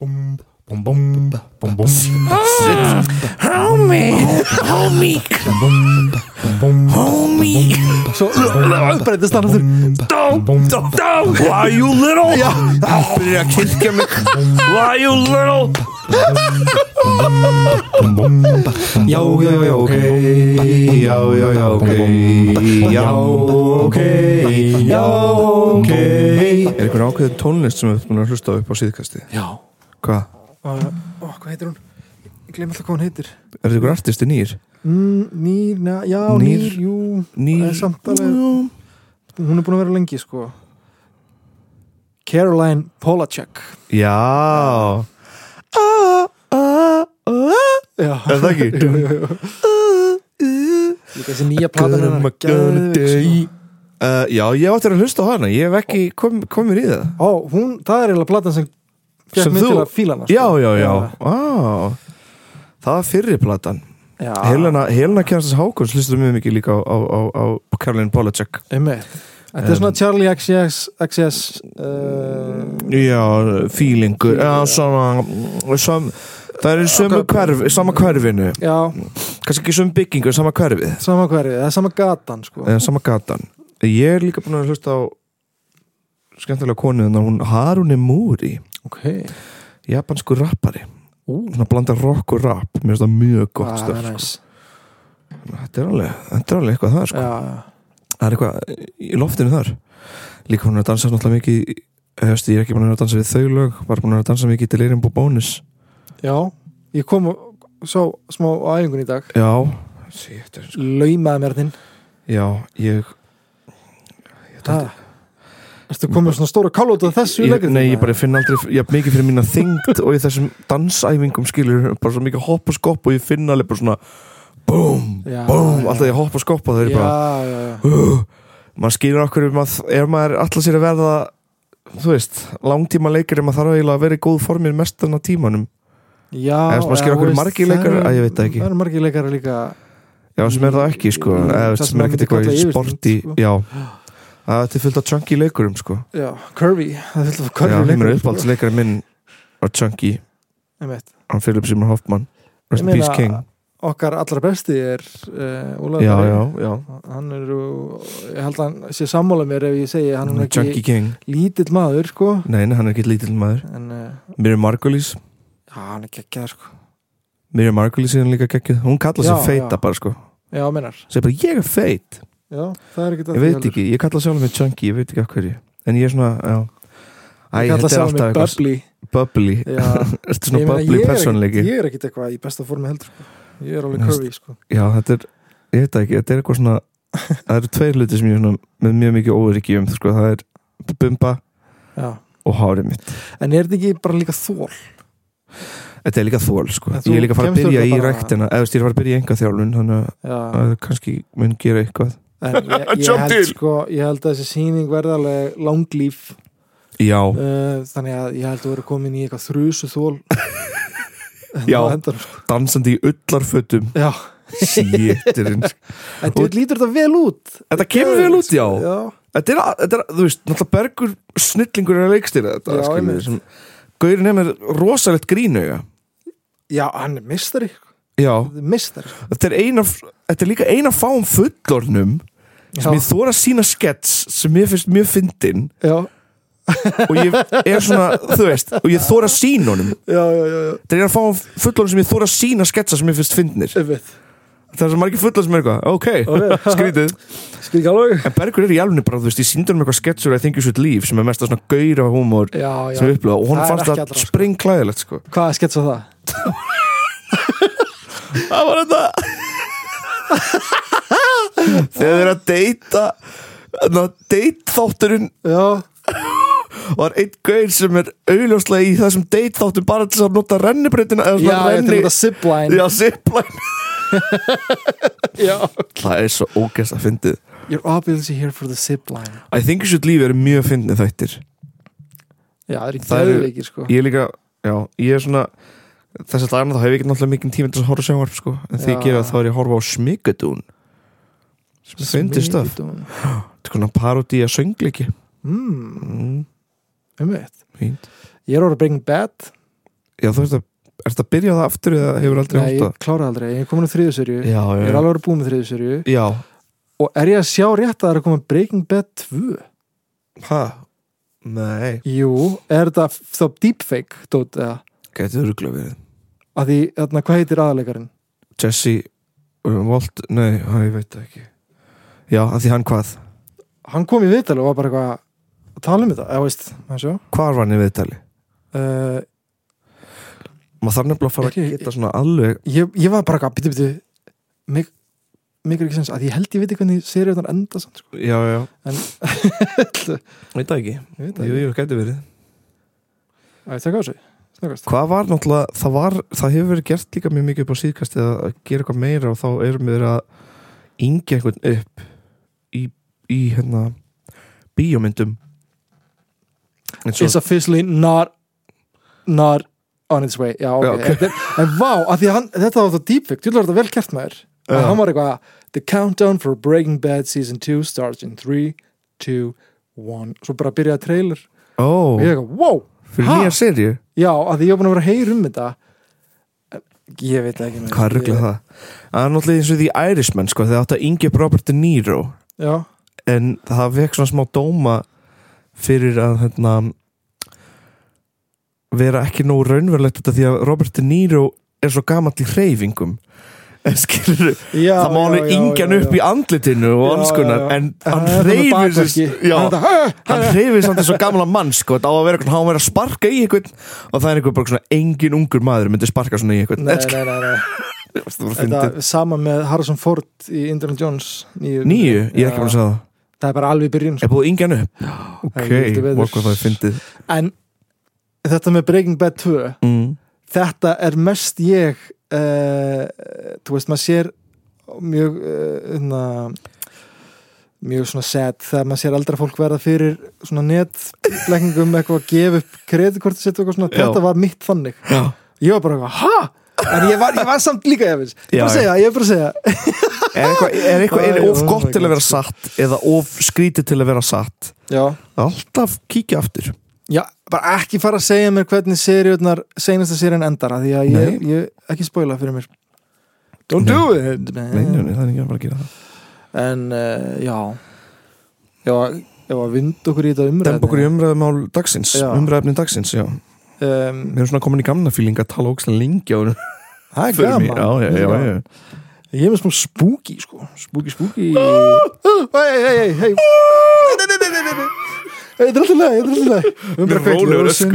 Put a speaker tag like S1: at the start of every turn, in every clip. S1: Búm, búm, búm, búm, búm.
S2: Homie, homie, homie Svo breytist hann aftur Dó, dó, dó Why you little Já, byrjar að kirkja mig Why you little
S1: Já, já, já, ok Já, já, já, ok Já, ok Já, ok
S3: Er einhver ákveðin tónlist sem við búin að hlusta á upp á síðkasti?
S2: Já
S3: Hvað?
S4: Ó, hvað heitir hún? Ég glem alltaf hvað hún heitir
S3: Er þetta einhver artisti nýr?
S4: mm, Nýr, na, já,
S3: Nýr.
S4: nýr, jú Það
S3: Nýr?
S4: er samt alveg- Hún er búin að vera lengi, sko Caroline Polachek
S3: Já
S4: Ah, Já,
S3: Er það ekki? Uh,
S4: jú, jú, jú Líka þessi nýja platan
S3: Hvað
S4: hennar
S3: er gonna
S4: geðveik, sko.
S3: day? Uh, já, ég átti að hlusta á hana Ég hef ekki kom, komið í það
S4: Ó, hún, það er eiginlega platan sem fekk
S3: Sem
S4: mig
S3: þú-
S4: til að fíla hana sko.
S3: Já, já, já Á, Það var fyrri platan
S4: já.
S3: Helena, Helena Kjærstins Hákons hlustaði mjög mikið líka á, á, á, á Caroline Polacek
S4: Einmitt. Þetta er svona Charlie XS, XS uh,
S3: Já, feelingur Já, sama, sam, Það er í sömu hverf, sama hverfinu
S4: Já,
S3: Kannski ekki sömu byggingu, sama hverfið
S4: sama hverju, það er sama gatan sko.
S3: eða sama gatan ég er líka búin að hlusta á skemmtilega konu þannig að hún Haruni Múri
S4: Ok
S3: japansku rappari svona blanda rock og rap mér finnst það mjög gott
S4: ah,
S3: stöf sko.
S4: nice.
S3: þetta er alveg, þetta er alveg eitthvað það sko.
S4: Já, já.
S3: það er eitthvað í loftinu þar líka hún er að dansa náttúrulega mikið í höst, ég er ekki búin að vera að dansa við þau lög bara búin að vera að dansa mikið í Delirium Bóbónis
S4: já, ég kom og sá smá á æfingun í dag
S3: já, sí, þetta er sko
S4: Laumaði mér þinn
S3: já, ég, ég
S4: Ha. Ertu komið svona stóra kál út af þessu
S3: Ég,
S4: leikrit?
S3: nei, ég bara finn aldrei já, mikið fyrir mína þyngd og í þessum dansæfingum skilur bara svo mikið hopp og skopp og ég finn alveg bara svona búm,
S4: Já,
S3: búm,
S4: já.
S3: alltaf ég hopp og skopp og þau eru
S4: Já,
S3: bara
S4: já, já
S3: maður skilur okkur um að ef maður alltaf sér að verða þú veist, langtíma leikari maður þarf eiginlega að vera í góð formir mest enn að tímanum
S4: Já,
S3: Eða veist, maður skilur
S4: já,
S3: okkur
S4: þú veist,
S3: margir
S4: það
S3: leikarar-
S4: eru-
S3: Æ, ég veit það ekki.
S4: Það eru margir leikari líka
S3: já, sem er það ekki, sko eða
S4: Mm,
S3: þú
S4: það
S3: veist,
S4: sem
S3: sem er
S4: maður
S3: ekkert
S4: myndi
S3: eitthvað í
S4: kalla
S3: sporti
S4: yfirþyngd, sko.
S3: já, að þetta er fullt af chunky leikurum, sko
S4: Já, curvy Það er alltaf
S3: já,
S4: curvy
S3: mér
S4: leikari
S3: er uppáhaldsleikari minn var chunky,
S4: Einmitt.
S3: hann Philip Simon Hoffman Rest in
S4: Ég meina-
S3: Peace King
S4: Okkar allra besti er uh, Ólafur
S3: já,
S4: Darri.
S3: já, já,
S4: hann er jú- ég held að hann sé sammála mér ef ég segi hann er
S3: Junkie
S4: ekki
S3: King
S4: lítill maður sko
S3: Nei, nei, hann er ekki lítill maður
S4: en uh,
S3: Miriam Margulies
S4: já, hann er geggjað sko
S3: Miriam Margulies er hann líka geggjuð Hún kallar sig
S4: Já,
S3: feita
S4: já.
S3: bara sko
S4: já, menar,
S3: Segir bara ég er feit
S4: já, það er ekki
S3: Ég veit ekki,
S4: um?
S3: ég kalla sjálf mig chunky Ég veit ekki af hverju En ég er svona, já Æ,
S4: ég
S3: þetta
S4: kalla
S3: er
S4: sjálf
S3: alltaf
S4: mig
S3: eitthvað
S4: bubbly
S3: bubbly
S4: já,
S3: Þetta er svona
S4: ég meina,
S3: bubbly
S4: ég er
S3: persónleiki
S4: ekkit- ég er ekkit eitthvað í besta formi heldur sko. ég er alveg
S3: Nei,
S4: curvy sko
S3: Já, þetta er, ég veit það ekki Þetta er eitthvað svona Það eru tveir hluti sem ég er svona Með mjög mikið óveriki um sko. Það er bumba
S4: já.
S3: og hárið mitt
S4: en er þetta ekki bara líka þól
S3: Þetta er líka þól sko.
S4: En
S3: Ég
S4: þú
S3: er líka að fara að
S4: kemst
S3: byrja í
S4: örugglega bara-
S3: ræktina Eða þú veist, ég er að fara að byrja í enga Þannig
S4: já,
S3: að kannski mun gera eitthvað
S4: en ég, ég,
S3: Jump
S4: held,
S3: til.
S4: sko, ég held að þessi sýning verði alveg langlíf
S3: Já,
S4: uh, þannig að ég held að vera komin í eitthvað þrjusu þól
S3: Já.
S4: endan, sko.
S3: dansandi í ullarfötum
S4: já
S3: Sýttirinn
S4: En þú lítur þetta vel út
S3: Þetta kemur vel út, já
S4: Já,
S3: Þetta er, þetta er þú veist, náttúrulega bergur snillingur er að leikstýra þetta
S4: Já,
S3: skilur við,
S4: einmitt.
S3: sem, Gaurin er með rosalegt grínauga
S4: já hann er sko. mistari
S3: Já,
S4: Mistari
S3: þetta er, eina, þetta er líka eina fáum fullornum sem ég þóra sína skets sem ég finnst mjög fyndin
S4: já,
S3: og ég er svona, þú veist og ég þóra sína honum
S4: já, já, já, já.
S3: Þetta er eina fáum fullornum sem ég þóra sína sketsa sem ég finnst fyndnir
S4: Einmitt.
S3: Það er svo margir fullorn sem er eitthvað,
S4: Ok.
S3: ok, skrítið
S4: Skil ekki alveg
S3: En Bergur er í alveg bara, þú veist, ég síndi hann eitthvað sketsur I think you should leave, sem er mest að svona gauðra húmór
S4: Já,
S3: sem
S4: já
S3: við upplifa og hún
S4: Það er
S3: fannst
S4: ekki
S3: það
S4: allra, sko.
S3: springklæðilegt sko.
S4: Hvað er sketsa það?
S3: Það var þetta Þegar þeir eru að deyta Ná, deytþátturinn
S4: Já,
S3: var einn gauð sem er augljóslega í þessum deytþáttum bara til þess að nota rennibreytina eða
S4: já,
S3: svona
S4: ég til
S3: renni
S4: þetta zipline
S3: Já, zipline
S4: já
S3: Það er svo ógæst að fyndið
S4: You're obviously here for the zipline
S3: I think you should leave eru mjög fyndið þættir
S4: Já, það er í
S3: Það eru-
S4: þauðleikir sko
S3: Ég er líka, já, ég er svona Þess að dagana þá hef ég ekki náttúrulega mikinn tíma til þess að horfa á sjónvarp sko En því ég
S4: Já.
S3: gera þá er ég að horfa á Smigadún Sem er fyndið stöf
S4: Smítun.
S3: Þetta er svona parodi að söngleiki
S4: Mm,
S3: mm,
S4: um veit
S3: Fínt
S4: Ég er orðið Breaking Bad
S3: já, þú veist að, ertu að byrja á það aftur eða hefur aldrei
S4: Nei,
S3: hótt
S4: ég klára aldrei, ég er komin á þriðu serju
S3: að já,
S4: Ég er
S3: já,
S4: alveg að búið með þriðu serju
S3: já,
S4: Og er ég að sjá rétt að það er að koma Breaking Bad 2?
S3: hæ nei,
S4: Jú, er þetta f- þá deepfake, dót, eða?
S3: gætið ruggla verið
S4: Að því, þarna, hvað heitir aðalegarinn?
S3: Jesse um, Walt, nei, hæ, ég veit það ekki já, að því hann hvað
S4: Hann kom í viðtal og var bara eitthvað að tala um þetta, eða veist, maður sjá
S3: hvar var hann í viðtali?
S4: uh,
S3: maður þarf nefnilega að fara
S4: Ekki-
S3: að geta svona alveg
S4: ég, ég var bara eitthvað, býtu, býtu mig, mig er ekki sens að ég held ég veit ekki hvernig serið þannig enda samt, sko.
S3: já, já,
S4: En-
S3: veit það ekki
S4: ég
S3: jú,
S4: veit það,
S3: jú, gætið verið
S4: að ég tekka á sig snakast,
S3: Hvað var náttúrulega, það var, það hefur verið gert líka mjög mikið upp á síðkast eða að gera eitthvað meira og þá erum við að yngja einhvern upp í, í hérna bíómyndum En svo,
S4: it's officially not not on its way, já, ok,
S3: Já, ok.
S4: En, en vá, að því að hann, þetta var það deepfake, þú var þetta vel kert maður
S3: Já.
S4: en hann var eitthvað, the countdown for Breaking Bad season 2 starts in 3 2, 1, svo bara byrjaði trailer,
S3: ó,
S4: og ég eitthvað, wow
S3: fyrir
S4: ha?
S3: nýja serju
S4: Já, að því ég var búin að vera að heyra um þetta En Ég veit það ekki maður.
S3: Hvað ruggla
S4: Ég-
S3: það? Það er náttúrulega eins og því Irishman sko, þegar átt að yngja upp Robert De Niro
S4: Já,
S3: en það vekk svona smá dóma fyrir að hérna vera ekki nógu raunverulegt þetta því að Robert De Niro er svo gamall í hreyfingum en skilur
S4: já
S3: það má
S4: já,
S3: hann
S4: já,
S3: yngjan
S4: já,
S3: upp
S4: já.
S3: í andlitinu og
S4: Já,
S3: alls
S4: já,
S3: konar
S4: já.
S3: en
S4: Hann
S3: hann
S4: er með
S3: hreyfir
S4: bakverki.
S3: sér- já,
S4: Hann er
S3: hann hreyfir samt þess að gamla mann sko, það á að vera eitthvað, hann verið að sparka í einhvern og það er einhver bara svona engin ungur maður myndi sparka svona í einhvern
S4: Nei, nei, nei, nei.
S3: þetta,
S4: Þetta sama með Harrison Ford í Indiana Jones nýju,
S3: nýju, ég er ekki
S4: Já.
S3: búin að segja það
S4: Það er bara alveg í byrjun sko.
S3: er búið yngjan upp
S4: það er heldur betur.
S3: ok, það er fyndið
S4: En þetta með Breaking Bad 2
S3: mm.
S4: Þetta er mest ég uh, Þú veist, maður sér mjög uh, na, mjög svona sad þegar maður sér aldra fólk verða fyrir svona netblekkingum eitthvað að gefa upp kreditkortið sitt og eitthvað svona,
S3: Já.
S4: þetta var mitt þannig
S3: já
S4: ég var bara eitthvað, ha? En ég var, ég var samt líka efins Ég er bara að
S3: Já,
S4: segja, ég er bara að segja
S3: Er eitthvað, er eitthvað er
S4: Æ,
S3: of
S4: oh
S3: gott
S4: my
S3: til að
S4: God,
S3: vera satt eða of skrítið til að vera satt
S4: Já,
S3: Alltaf kíkja aftur
S4: já bara ekki fara að segja mér hvernig seriurnar senasta seriðan endar af Því að ég,
S3: Nei.
S4: ég ekki spoila fyrir mér Don't
S3: Nei.
S4: do it
S3: Nei, nei, nei, það er ekki að fara að gera það
S4: En, uh, já Já, ég var að vinda okkur í þetta umræðni
S3: Demb okkur í um- umræðumál dagsins,
S4: Já.
S3: umræðumni dagsins, já
S4: um,
S3: Mér erum svona komin í gamna fíling að tala ógstlega lengi á honum
S4: Það er
S3: fyrir mér Já,
S4: gaman
S3: já, já, já.
S4: Ég er með smá spooky, sko Spooky, spooky
S3: Ah!
S4: Hei, hei, hei, hei Nei, nei, nei, nei, nei, nei Þetta er alltaf lega, þetta er alltaf lega Við erum bara að kveikja ljósin.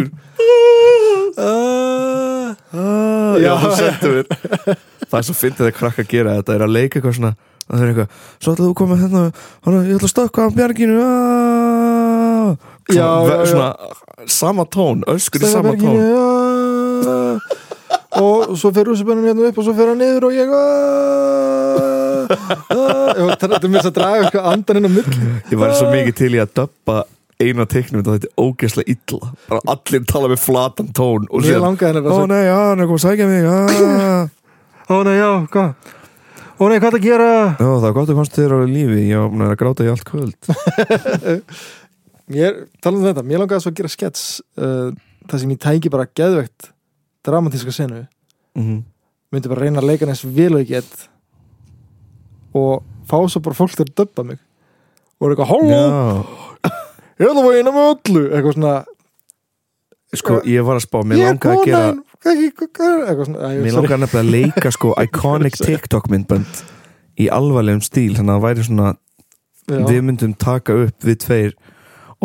S4: Ah,
S3: Ah, Já,
S4: Já.
S3: það sendur við Það er svo fyndið að krakka að gera þetta er að leika eitthvað svona Það er eitthvað, svo ætlaðu að koma hérna hana, Ég ætla að stökkva á bjarginu ah.
S4: Já,
S3: Svona-
S4: já, já.
S3: Svona sama tón, öskur í sama
S4: Steinberginu,
S3: tón
S4: ja. og svo fer rússibennum hérna upp og svo fer hann niður og ég og þetta er mér að draga eitthvað andan inn á mill
S3: Ég væri svo mikið til í að döppa eina teiknum þetta þetta er ógeðslega illa bara allir tala með flatan tón og
S4: Mér
S3: sér,
S4: langaði
S3: ó
S4: hennar bara að
S3: nei, já, hann er komið að sækja mig ah.
S4: segja Ó nei, já, hvað? Ó nei, hvað það gera?
S3: Já, það er gott að komst þér á lífi ég var búin að vera að gráta í allt kvöld
S4: Mér, talað um þetta, mér langaði svo að gera skets uh, það sem ég tæki bara geðvegt dramatíska senu
S3: Mhm.
S4: myndi bara reyna að leika næst vel og ég get og fá svo bara fólk til að döbba mig og er eitthvað, halló,
S3: Já,
S4: ég ætla að vera eina með öllu eitthvað svona,
S3: sko, ég var að spá mér langaði að gera
S4: ekki, hvað hvað er eitthvað svona, æ,
S3: Mér
S4: sorry.
S3: langaði nefnilega að leika sko iconic TikTok myndbönd í alvarlegum stíl þannig að það væri svona
S4: Já.
S3: við myndum taka upp við tveir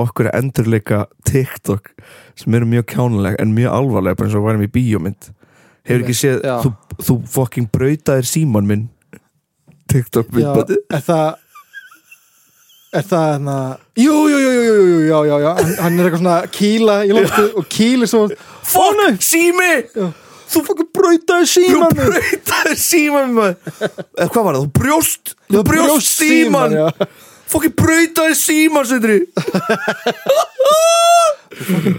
S3: okkur að endurleika TikTok sem eru mjög kjánuleg en mjög alvarleg bara eins og værum í bíómynd hefur ekki séð,
S4: Já.
S3: þú, þú fucking brautaðir síman minn TikTok
S4: Já,
S3: myndböndi
S4: er það er það hérna jú, jú, jú, jú, jú, jú, já, já, já hann, hann er eitthvað svona að kýla í loftu og kýli svo
S3: Fuck, sími!
S4: þú fokkur brautaði
S3: Þú
S4: síman minn."
S3: brautaðir síman minn Eh, Hvað var það? Þú brjóst Þú
S4: Já,
S3: brjóst síman
S4: já.
S3: Fucking brautaðir síman, Sindri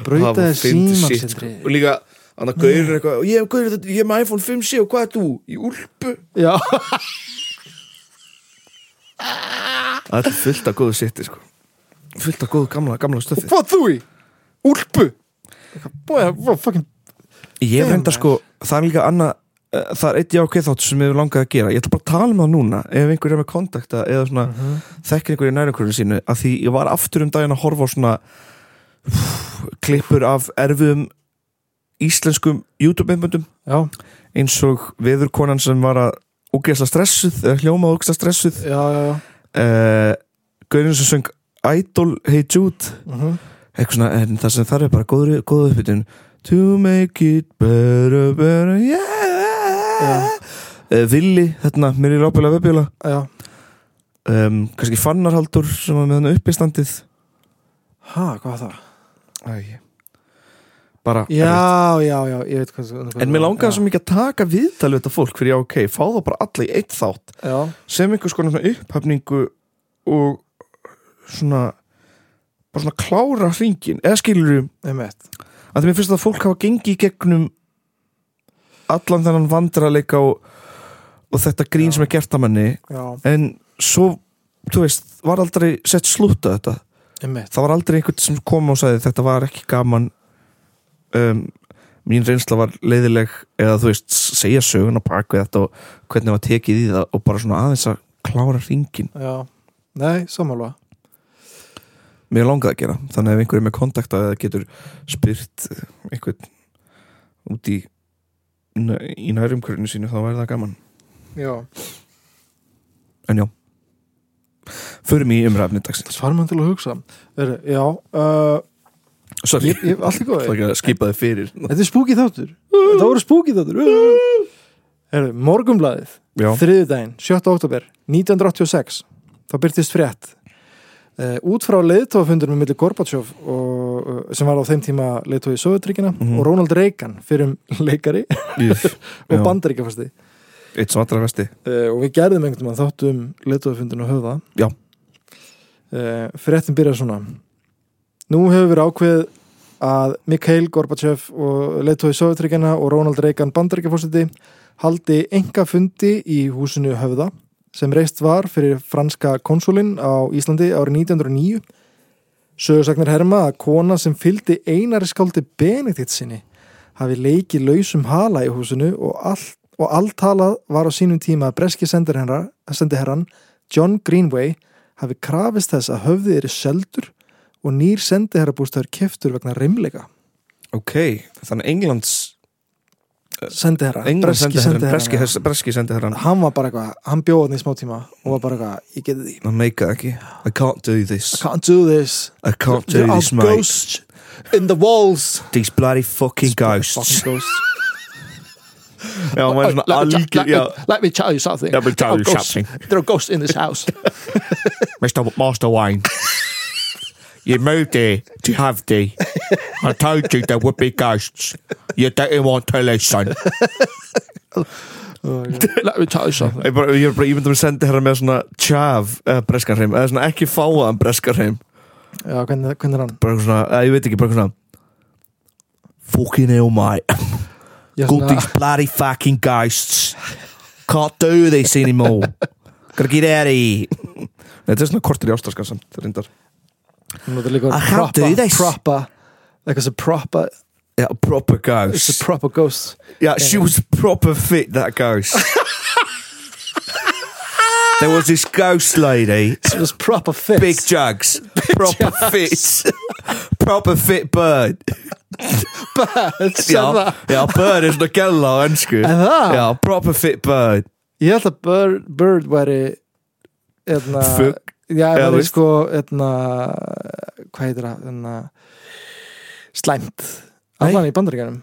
S4: brautaði
S3: fyndið
S4: síman
S3: shit,
S4: Sindri.
S3: sko. og líka hann að gaurur eitthvað og ég hef gaurur þetta, ég er með iPhone 5C og hvað er þú? í úlpu
S4: já,
S3: það er fullt af góðu sitti sko fullt af góðu gamla, gamla stöfi
S4: hvað þú í? úlpu Eitthvað, boy, boy, fucking
S3: Ég
S4: Þeim
S3: reynda
S4: er.
S3: sko, það er líka annað eh, Það er eitt jákvæð þátt sem við langaði að gera Ég ætla bara að tala um það núna Ef einhver er með kontakta eða svona mm
S4: Mhm.
S3: Þekkir einhver í nærumhverfinu sínu Að því ég var aftur um daginn að horfa á svona Klippur af erfiðum Íslenskum YouTube-einböndum
S4: já,
S3: Eins og veðurkonan sem var að Úgeðsla stressuð, eða hljómað úgeðsla stressuð
S4: já, já, já.
S3: uh, Gaurin sem söng Idol Hey Jude
S4: Mhm.
S3: eitthvað svona, en það sem þarf er bara góður, góða uppbytun To make it better, better, yeah uh, Villi, þarna, mér er ábjöla vebjöla
S4: já.
S3: um, Kannski fannarhaldur sem var með hann uppistandið
S4: Ha, hvað var það?
S3: Æ Bara erfitt.
S4: Já, já, já, ég veit hvað hvað-
S3: En mér langaði
S4: já.
S3: svo mikið að taka viðtal við þetta fólk fyrir já, ok, fá það bara alla í eitt þátt
S4: Já,
S3: sem einhvers konar svona upphafningu og svona bara svona klára hringin eða skilur
S4: einmitt
S3: að því mér finnst að fólk hafa gengið í gegnum allan þennan vandraleika og, og þetta grín
S4: Já.
S3: sem er gert að manni
S4: Já,
S3: en svo, þú veist, var aldrei sett slúta þetta,
S4: einmitt
S3: það var aldrei einhvern sem kom og sagði þetta var ekki gaman um, mín reynsla var leiðileg eða þú veist, segja sögun á bak við þetta og hvernig var tekið í það og bara svona aðeins að klára hringin
S4: Já, nei, sammála
S3: mér langaði að gera þannig að ef einhver er með kontakta eða getur spyrt eh, einhvern út í í nærumkörinu sínu þá væri það gaman
S4: Já,
S3: en já förum í umræfni dagsins
S4: svarum hann til að hugsa Veru, Já, uh,
S3: sorry,
S4: ég, ég, allt í góði
S3: ég skipaði fyrir
S4: Þetta er spúkið þáttur Þetta voru spúkið þáttur Heru, Morgumblaðið,
S3: já,
S4: þriðudaginn 7. oktober 1986 þá byrtist frétt uh, út frá leiðtóðafundunum millir Gorbachev og, uh, sem var á þeim tíma leiðtóði í Sovjetríkina
S3: Mhm.
S4: og Ronald Reagan fyrir um leikari
S3: Íf,
S4: og
S3: já.
S4: bandaríkjafasti
S3: eitt sem allra vesti
S4: uh, og við gerðum einhvern veginn þáttu um leiðtóðafundun og höfða
S3: Já.
S4: uh, fréttin byrjar svona nú hefur verið ákveð að Mikhail Gorbachev og leiðtóði Sovjetríkina og Ronald Reagan bandaríkjafasti haldi enga fundi í húsinu höfða sem reist var fyrir franska konsulinn á Íslandi árið 1909 sögursagnir herma að kona sem fylgdi einari skáldi Benedikt sinni hafi leikið lausum hala í húsinu og allt, og allt talað var á sínum tíma að breski sendir hennar, sendi herran John Greenway hafi krafist þess að höfðið eru seldur og nýr sendi herrabústæður keftur vegna rimleika
S3: ok, þannig Englands
S4: sendi herra,
S3: Englands sendiherran, breski,
S4: sendiherrann.
S3: hers- breski sendiherran
S4: hann var bara eitthvað, hann bjóði hann í smá tíma og var bara eitthvað, ég geti því
S3: hann meikaði ekki I can't do this,
S4: I can't do this
S3: I can't do
S4: There are
S3: this mate
S4: ghosts in the walls
S3: these bloody fucking ghosts
S4: Fucking ghosts.
S3: já, hann var svona algjör já,
S5: let me tell you something.
S3: Let me
S5: There
S3: tell
S5: are
S3: you
S5: ghosts-
S3: something.
S5: There are ghosts in this house.
S1: Mr. Master Wayne. You moved here to have the. I told you there would be ghosts. You didn't want to listen.
S5: let me tell you something.
S3: Ég, bara, ég, er bara, ég myndi að sendi hérna með svona tjaf eða breskarheim, eða svona ekki fáaðan breskarheim,
S4: já, hvernig, hvernig er hann?
S3: bara eitthvað svona, eða ég veit ekki, bara eitthvað svona fucking hell mate
S4: Já,
S1: Good
S4: svona-
S1: these bloody fucking ghosts. Can't do this anymore. Gotta get out of here.
S3: Nei, þetta er svona kortir í ástraskan samt, reyndar
S4: Hún notar líka
S1: I
S4: orðið
S1: can't do
S4: proper,
S1: this.
S4: proper like it's a proper,
S3: Já, proper
S4: it's a
S3: ghost
S4: proper ghost
S3: Já, she was proper fit that ghost There was this ghost lady
S4: it was proper fit
S3: Big jugs, proper fit Proper fit bird
S4: bird sem
S3: Já,
S4: það.
S3: já bird er svona gæla á ennsku
S4: En það?
S3: Já, proper fit bird
S4: ég held að bird, bird væri eðna,
S3: Fugl.
S4: já,
S3: Já,
S4: væri
S3: veist.
S4: sko eðna, hvað heitir það eðna, slæmt allan í bandaríkanum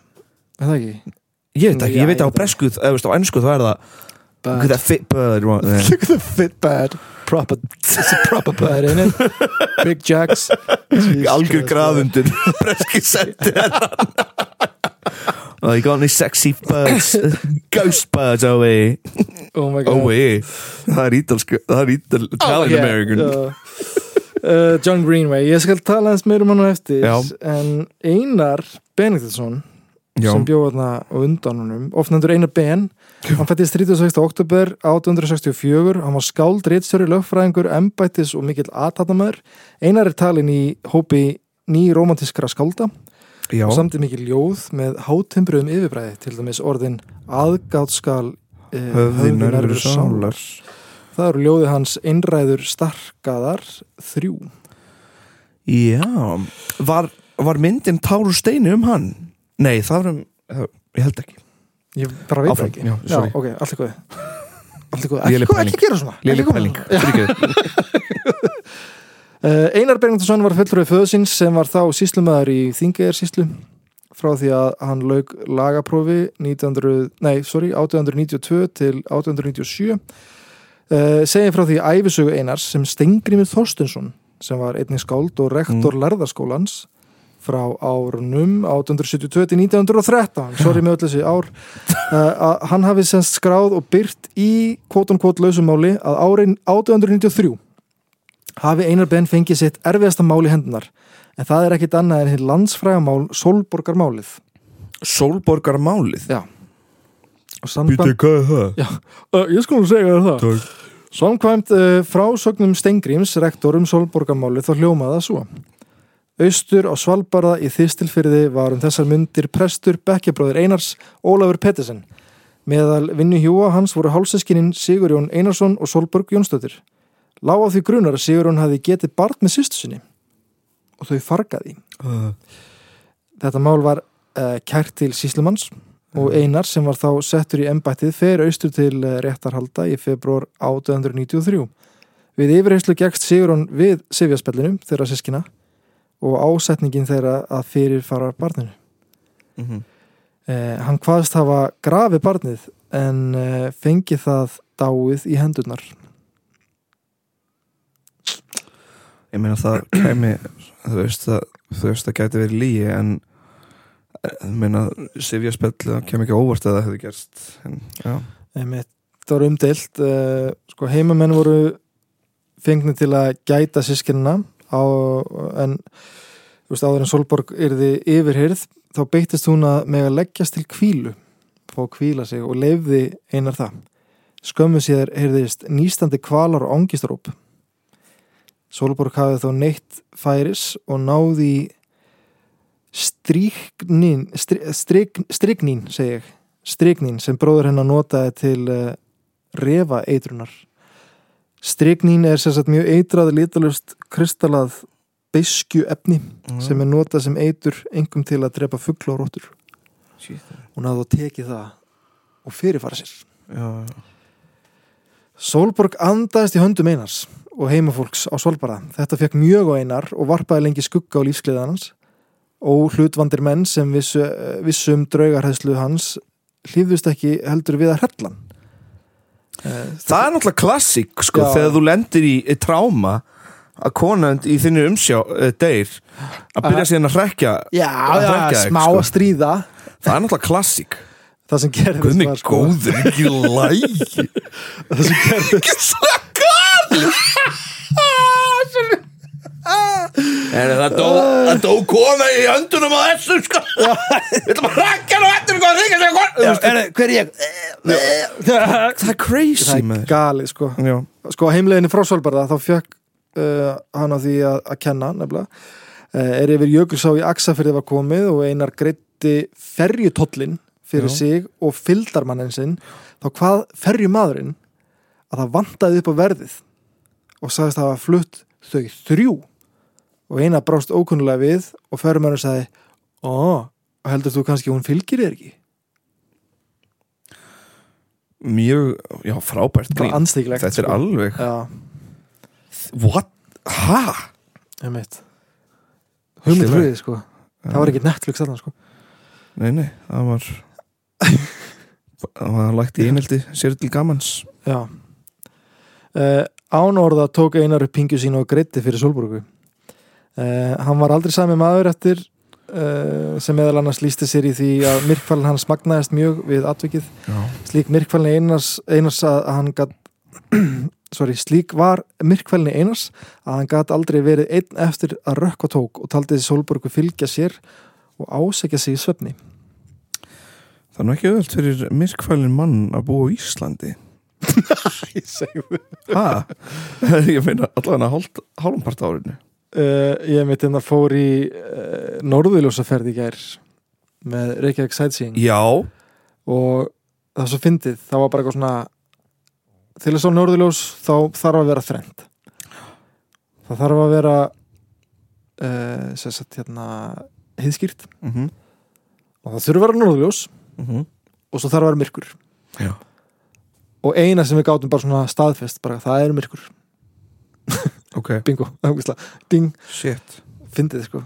S4: er það ekki?
S3: Ég veit ekki, ég veit
S4: Já,
S3: að
S4: ég
S3: á bresku, eða veist, á ennsku þá er það Look at
S4: Bird.
S3: that fit bird right there
S4: look at the fit bird proper, it's a proper bird in it big jacks Jesus
S3: Algjör
S4: Christ,
S3: graðundur Breski sendi Oh, you got any sexy birds Ghost birds over here
S4: oh my god
S3: Oh hey Það er ítalsku Það er ítal Italian
S4: Oh, yeah,
S3: American
S4: já. Uh, John Greenway, ég skal tala hans meira um hann á eftir
S3: Já.
S4: en Einar Benediktsson
S3: Já
S4: sem bjóð þarna á undan honum ofnendur Einar Ben hann fættist 36. oktober 1864 hann var skáld, ritstöri, lögfræðingur embættis og mikill aðtattamæður Einar er talin í hópi ný romantískra skálda
S3: Já,
S4: og samt er mikið ljóð með hátimbruðum yfirbræði til dæmis orðin aðgátskal e,
S3: höfði nörfur sálar
S4: það eru ljóði hans einræður starkaðar þrjú
S3: Já, var, var myndin Tárur Steini um hann? Nei, það var um, eh, ég held ekki
S4: ég bara veit það
S3: Áfram,
S4: ekki
S3: já,
S4: já,
S3: sorry.
S4: ok, allt er góð allt er góð,
S3: Léleg
S4: ekki,
S3: pæling.
S4: ekki gera svona
S3: Lili
S4: ekki koma-
S3: Pæling, fyrirgeðu.
S4: Eh, Einar Berngundarsson var fulltrúi föðsins sem var þá síslumæður í Þingeir síslu frá því að hann lauk lagaprófi 1900, nei, sorry, 1892 til 1897 uh, segir frá því æfisögu Einars sem Stengrimur Þorstensson sem var einnig skáld og rektor lærðaskólans frá árunum 1872 til 1913 sorry með öll þessi ár eh, að hann hafi semst skráð og byrt í kvótankvót lausumáli að árin 1893 hafi Einar Ben fengið sitt erfiðasta mál í hendunar en það er ekkit annað en hitt landsfrægamál Solborgarmálið
S3: Sólborgarmálið
S4: Já og samband
S3: hvað er það?
S4: uh, Ég skulum segja þér það Takk. Samkvæmt uh, frásögnum Stengrims rektorum Solborgarmálið þá hljómaði það svo Austur á Svalbarða í Þistilfyrði var um þessar myndir prestur bekkjabróðir Einars Ólafur Pettersen meðal vinnu hjúa hans voru hálsiskinin Sigurjón Einarsson og Solborg Jónsdóttir Lág á því grunar að Sigurjón hafi getið barn með sýstu sinni og þau fargaði Þetta mál var uh, kært til síslumanns og Einar sem var þá settur í embættið fer austur til eh, réttarhalda í februar 1893. Við yfirheyslu gegst Sigurón við Sifjaspellinu þeirra sískina og ásetningin þeirra að fyrir fara barninu.
S3: Mhm.
S4: Eh, hann hvaðst hafa grafið barnið en eh, fengið það dáið í hendurnar.
S3: Ég meina það kæmi þú veist að, þú veist það gæti verið líi en eh, ég meina Sifja Spell það kæmi ekki á óvart að það hefði gerst en, já.
S4: Einmitt, það var umdeilt eh, sko, heimamenn voru fengnir til að gæta sískinna á, en þú veist, áður en Solborg yrði yfirhyrð þá beittist hún að mega leggjast til kvílu fá að kvíla sig og leifði einar það skömmu síðar heyrðist nýstandi kvalar og angistaróp Solborg hafði þá neitt færis og náði í striknin strik, striknin, segi ég striknin sem bróður hennar notaði til uh, refa eitrunar. Striknin er sem sagt mjög eitrað litalust kristallað beiskju efni
S3: Mhm.
S4: sem er notað sem eitur engum til að drepa fuggla og róttur. Hún hafði þá tekið það og fyrirfara sér.
S3: Já, já.
S4: Solborg andaðist í höndum einars og heimafólks á Solbara. Þetta fekk mjög á einar og varpaði lengi skugga á lífskleiðan hans og hlutvandir menn sem vissu, vissu um draugarhæðslu hans hlýðust ekki heldur við að Eh, hrellan.
S3: Það er náttúrulega klassik sko,
S4: Já.
S3: þegar þú lendir í, í tráma að konand í þinni umsjá uh, deyr að byrja síðan að hrekja
S4: Já,
S3: Að hrekkja þig,
S4: smá
S3: sko.
S4: að stríða.
S3: það er náttúrulega klassik
S4: Það sem gerðist
S3: Guð mig
S4: var, sko,
S3: góður, ekki lægi
S4: það sem gerðist,
S1: En það dó, það dó kona í höndunum á þessu sko Við ætlum að hrakka hann á hendur og hringja sig Hver er ég?
S3: Það er crazy
S4: það er
S3: maður
S4: galið, sko.
S3: Já,
S4: sko á heimleginni frá Svalbarða þá fjökk uh, hann á því að, að kenna nefnilega uh, er yfir Jökulsá í Axafyrði var komið og einar greitti ferjutollin fyrir sig og fyldarmannin sinn þá hvað ferjumadurinn að það vantaði upp á verðið og sagðist að hafa flutt þau þrjú og eina brást ókunnulega við og ferjumannin sagði ó, heldur þú kannski hún fylgir þér ekki?
S3: mjög, já, frábært
S4: Bara
S3: grín
S4: anstíklegt
S3: Þetta er alveg sko.
S4: Já,
S3: What? Ha?
S4: einmitt
S3: Allt í lagi.
S4: Hugmyndflöðið sko Það var ekki Netflix þarna sko
S3: Nei, nei, það var það var lægt í einhelti sér til gamans
S4: Já uh, Án orða tók Einar upp pingju sína og greitti fyrir Solborgu uh, Hann var aldrei sami maður eftir uh, sem meðal annars lísti sér í því að myrkfælin hans magnaðist mjög við atvikið
S3: Já.
S4: Slík myrkfælin Einars, Einars að að hann gat sorry, slík var myrkfælin Einars að hann gat aldrei verið einn eftir að rökkva tók og taldi Solborgu fylgja sér og ásækja sig í svefni
S3: Það er nú ekki öðvöld fyrir myrkfælin mann að búa á Íslandi
S4: Ég segi
S3: Ha? Ég meina allan að hálmpart árinu
S4: uh, ég mitt en það fór í uh, norðurljósaferð í gær með Reykjavík Sightseeing
S3: Já
S4: og það var svo fyndið það var bara eitthvað svona til þess að sjá norðurljós þá þarf að vera þrend það þarf að vera uh, sem sagt hérna heiðskýrt
S3: mm -hmm.
S4: og það þurfa að vera norðurljós
S3: mhm.
S4: og svo þarf að vera myrkur
S3: Já.
S4: og eina sem við gátum bara svona staðfest bara það er myrkur,
S3: Ok
S4: bingo ógeðslega. ding,
S3: Shit
S4: fyndið sko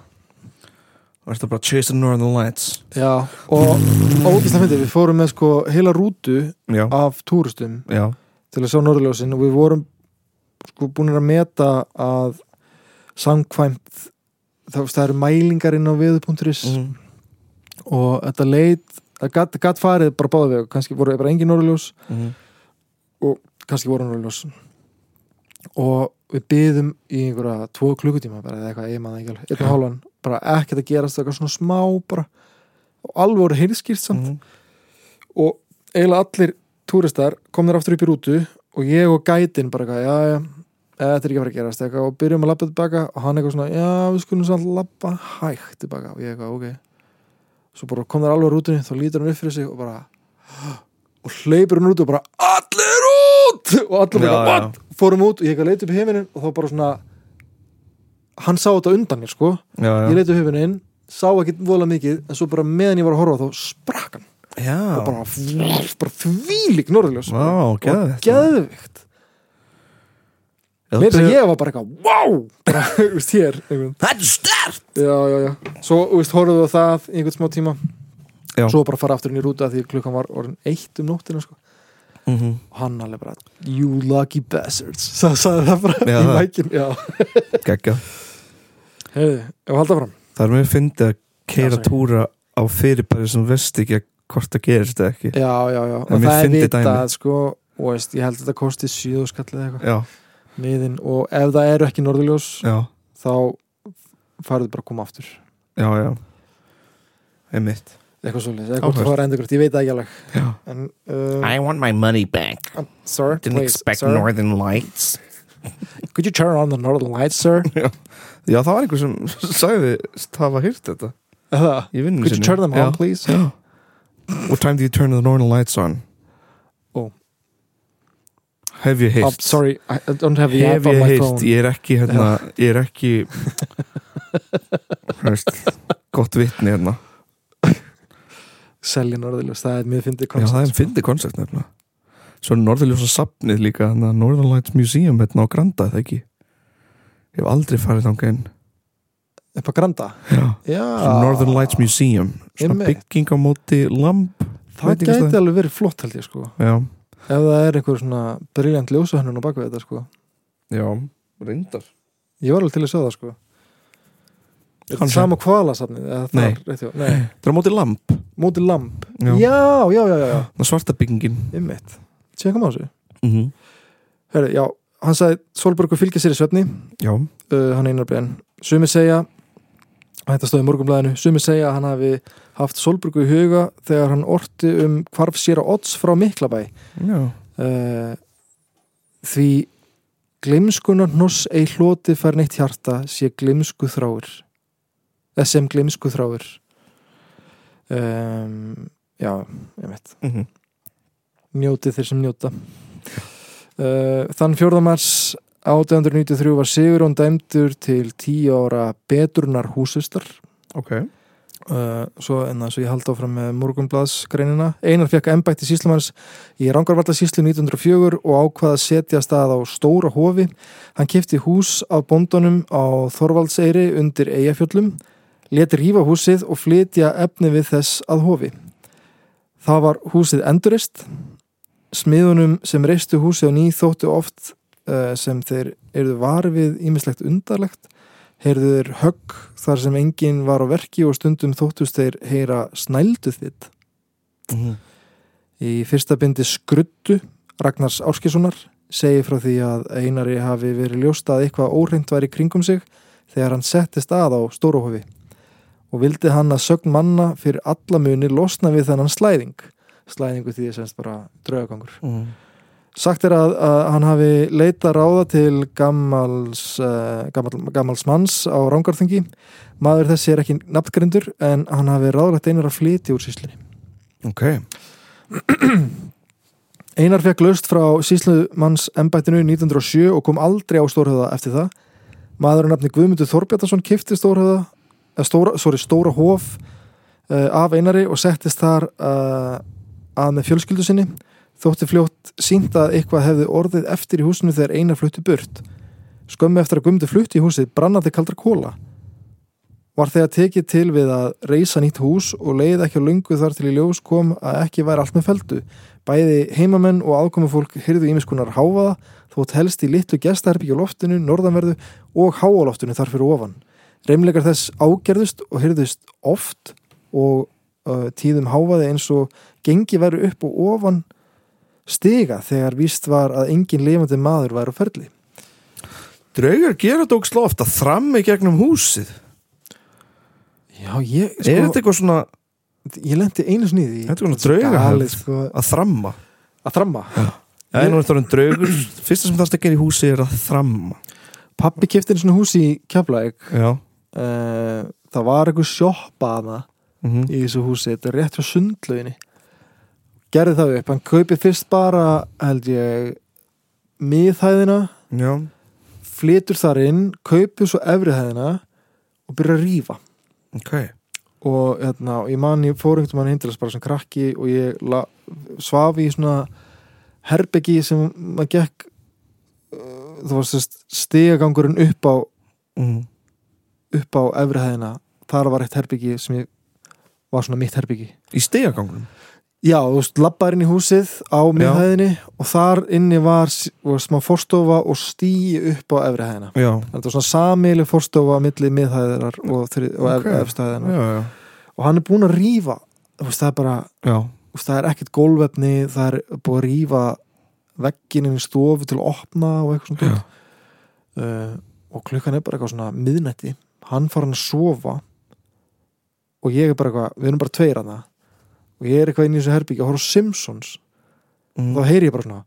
S3: Það er þetta bara Chase the Northern Lights
S4: Já, og ógæslega fyndið, við fórum með sko heila rútu
S3: Já
S4: af túristum
S3: Já
S4: til að sjá norðurljósin og við vorum sko búinir að meta að samkvæmt þá veist, það eru mælingar inn á veðu.is
S3: Mhm.
S4: og þetta leit það gatt gat farið bara báða vegu kannski voru bara engin norðurljós
S3: Mhm.
S4: og kannski voru norðurljós og við byðum í einhverja tvo klukkutíma bara eða eitthvað, ég maður ekki alveg, einn og hálfan bara ekkert að gerast, eitthvað svona smá bara og alveg heyrskýrt samt
S3: Mhm.
S4: og eiginlega allir túristar komnir aftur upp í rútu og ég og gætin bara eitthvað, já, já, eh, þetta er ekki að fara að gerast eitthvað, og byrjum að labba tilbaka og hann eitthvað svona, já, við skulum samt labba hægt tilbaka og ég eitthvað, ok svo bara kom þær alveg á rútunni, þá lítur hann upp fyrir sig og bara og hleypur hann út og bara, allir út og allir bara,
S3: Já, já.
S4: what, fórum út og ég eitthvað leit upp í heiminin og þá bara svona hann sá þetta undan mér, sko
S3: Já, já
S4: ég leit upp í heiminin, sá ekki vola mikið, en svo bara meðan ég var að horfa á þá sprakk hann
S3: Já
S4: og bara, bara þvílík norðljós
S3: Vá,
S4: og
S3: geðveikt.
S4: geðvikt
S3: Já,
S4: meira
S3: þetta
S4: að
S3: er-
S4: ég var bara eitthvað, wow bara, þú veist, hér einhvern.
S3: Þetta er stert
S4: já, já, já, svo, þú veist, horfðu á það í einhvern smá tíma
S3: Já.
S4: svo bara fara aftur inn í rúta því klukkan var orðin eitt um nóttina sko.
S3: Mhm.
S4: og hann alveg bara, you lucky bastards það sagði það bara
S3: Já,
S4: í
S3: það.
S4: mækin já,
S3: Gekka
S4: heiði, ef halda fram
S3: Það er mjög fyndið að keira
S4: Já, sorry.
S3: túra á fyrirbæri sem veist ekki að hvort það gerist eða ekki
S4: já, já, já,
S3: En
S4: og
S3: mér
S4: það er
S3: fyndi
S4: vita
S3: dæmi.
S4: sko, og veist, ég held að þetta kosti síðu skallið eitthvað,
S3: Já,
S4: miðin og ef það eru ekki norðljós
S3: já,
S4: þá farðu bara að koma aftur
S3: já, já Einmitt
S4: eitthvað svolítið, eða
S3: Áhugavert.
S4: hvort það var endurgrætt, ég veit það ekki alveg
S3: Já
S4: en, uh,
S1: I want my money back.
S4: sir,
S1: Didn't
S4: please,
S1: expect
S4: sir
S1: Northern Lights.
S4: could you turn on the northern lights, sir
S3: Já, það var einhver sem sagði hafa hýrt þetta
S4: could
S3: í vinninu
S4: you turn them on, please
S3: Já. What time do you turn the northern lights on?
S4: Ó.
S3: Hef ég
S4: I'm
S3: heyrt
S4: Oh. Um, sorry, I I don't have the app
S3: Hef
S4: on
S3: ég
S4: my
S3: heyrt,
S4: phone
S3: ég er ekki hérna, ég er ekki Þú veist, gott vitni hérna
S4: selja norðurljós, það er mjög fyndið
S3: Já, það er
S4: koncept,
S3: en fyndið koncept nefnilega Svo er norðurljósa safnið líka hérna, Northern Lights Museum hérna á Granda, er það ekki Ég hef aldrei farið þangað inn
S4: sko. upp á granda
S3: Já,
S4: já,
S3: svo Northern Lights Museum Svona
S4: Einmitt.
S3: bygging á móti lamp
S4: það
S3: veitingastæði.
S4: gæti alveg verið flott held ég sko
S3: Já,
S4: ef það er einhver svona briljant ljósahönnun á bakvið þetta sko
S3: já, reyndar
S4: ég var alveg til að sjá það sko Er þetta
S3: Hann-
S4: sama kvalasafnið eða þar,
S3: Nei.
S4: rétt hjá? Nei.
S3: Það er á móti lamp
S4: móti lamp
S3: Já.
S4: já, já, já, já, já.
S3: Það svarta byggingin
S4: Einmitt. Tjekkum á þessu.
S3: mm -hmm.
S4: Herri, já, hann sagði Solbergur fylgja sér í svefni,
S3: Já,
S4: uh, hann einar brenn. Sumir segja, þetta stóði morgunblæðinu, sumir segja að hann hafi haft Solbergu í huga þegar hann orti um hvarf sér á odds frá Miklabæ.
S3: já
S4: Uh, því gleimskunar hnoss ei hloti fær neitt hjarta sé gleimsku þráir. Eða sem gleimsku þráir. Um, já, ég veit.
S3: mm
S4: njótið þeir sem njóta uh, Þann 4. mars 1893 var Sigurón dæmdur til 10 ára betrunar húsustar
S3: Ok
S4: uh, svo en það svo ég haldi áfram með morgunblaðsgreinina Einar fekk embætti síslumanns í Rangarvalda síslu 1904 og ákvað að setja stað á Stóra Hofi hann kefti hús af bóndunum á Þorvaldseyri undir Eyjafjöllum leti rífa húsið og flytja efni við þess að Hofi það var húsið endurist smiðunum sem reistu húsið á ný þóttu oft uh, sem þeir eru varfið ímislegt undarlegt heyrðu þeir högg þar sem enginn var á verki og stundum þóttust þeir heyra snældu þitt.
S3: Mhm.
S4: Í fyrsta bindi Skruddu, Ragnars Áskissonar, segir frá því að Einari hafi verið ljóst að eitthvað óreint var í kringum sig þegar hann settist að á Stóruhofi og vildi hann að sögn manna fyrir
S3: Mhm.
S4: alla muni losna við þennan slæðing. Slæðingu því þess að bara draugagangur Sagt er að, að hann hafi leita ráða til gammals, uh, gammal, gammals manns á Rángarþingi. Maður þessi er ekki nafngrindur en hann hafi ráðlegt einar að flytja úr síslinni.
S3: Ok
S4: Einar fekk löst frá síslumanns embættinu 1907 og kom aldrei á Stórhöða eftir það. Maður nafni Guðmundur Þorbjartason kifti Stórhöða, eh, stóra, sorry, Stóra Hof uh, af Einari og settist þar uh, að með fjölskyldu sinni. Þótti fljótt sínt að eitthvað hefði orðið eftir í húsinu þegar Einar flutti burt. Skömmu eftir að Guðmundur flutti í húsið brannaði kaldra kóla. Var þegar tekið til við að reysa nýtt hús og leið ekki á lungu þar til í ljós kom að ekki væri allt með feldu. Bæði heimamenn og aðkomufólk hyrðu ímiskunar háfaða þótt helst í litlu gestaherbyggju loftinu, norðanverðu og háaloftinu þar fyrir ofan. Reimleikar þess ágerðust og hyrðust oft og uh, tíðum háfaði eins og gengi væri upp og ofan stiga þegar víst var að engin lifandi maður væri á ferli.
S3: Draugar gera þetta ógst loft að þrammi gegnum húsið
S4: Já, ég,
S3: Er þetta eitthvað svona,
S4: Sko, ég lendi einu snýði
S3: þetta er svona draugarhæð
S4: galið, sko,
S3: að þramma
S4: að þramma.
S3: En nú er þetta orðin draugur Fyrsta sem þarst að gera í húsi er að þramma
S4: Pappi kefti einu svona hús í Keflæk
S3: Já
S4: uh, það var einhver sjoppa hana
S3: Mhm.
S4: í þessu húsi, þetta er rétt hjá sundlauginni gerði það upp, hann kaupið fyrst bara held ég miðhæðina,
S3: Já
S4: flytur þar inn kaupið svo efrihæðina og byrjar að rífa
S3: Ok
S4: og hérna, og ég man, ég fór einhvern mann hindilas bara sem krakki og ég la, svaf í svona herbeggi sem maður gekk uh, það var sérst stigagangurinn upp á
S3: mm.
S4: upp á efrihæðina þar var eitt herbyggi sem ég var svona mitt herbyggi
S3: Í stegagangunum
S4: já, þú veist, labbaðir inn í húsið á miðhæðinni og þar inni var, s- var smá forstofa og stíi upp á efrihæðina
S3: Já
S4: þetta var svona samileg forstofa milli miðhæðinar og, þrið- og
S3: Ok.
S4: okay. efstæðinar
S3: Já, já
S4: og hann er búin að rífa þú veist, það er bara,
S3: Já
S4: þú veist, það er ekkert gólvefni það er búin að rífa vegginin í stofu til að opna og eitthvað svona dót. uh, og klukkan er bara eitthvað svona miðnætti hann fara hann að sofa og ég er bara eitthvað, við erum bara tveir hann og ég er eitthvað inn í þessu herbyggja og horf á Simpsons
S3: Mm.
S4: og þá heyri ég bara svona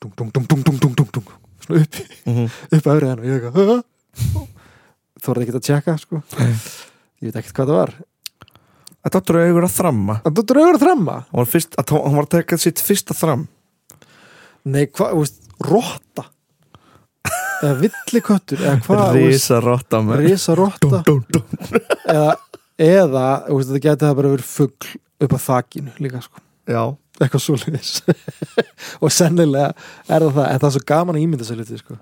S4: dung, dung, dung, dung, dung, dung, dung, dung svona upp,
S3: Mhm.
S4: upp öfrið hann og ég er eitthvað "Hæ?" þú voru ekki að tjekka sko ég veit ekkert hvað það var
S3: Þetta var draugur að þramma
S4: en þú draugur að þramma
S3: Hann var, fyrst, að, hann var að taka sitt fyrsta þram
S4: Nei, hvað, þú veist, rotta eða villiköttur eða hvað, þú veist,
S3: rotta
S4: risa rotta
S3: dum, dum.
S4: eða, eða, þú veist, þetta geti það bara verið fugl upp að þakinu líka, sko
S3: Já
S4: eitthvað svoleiðis og sennilega er það það, en það er svo gaman að ímynda sér hluti, sko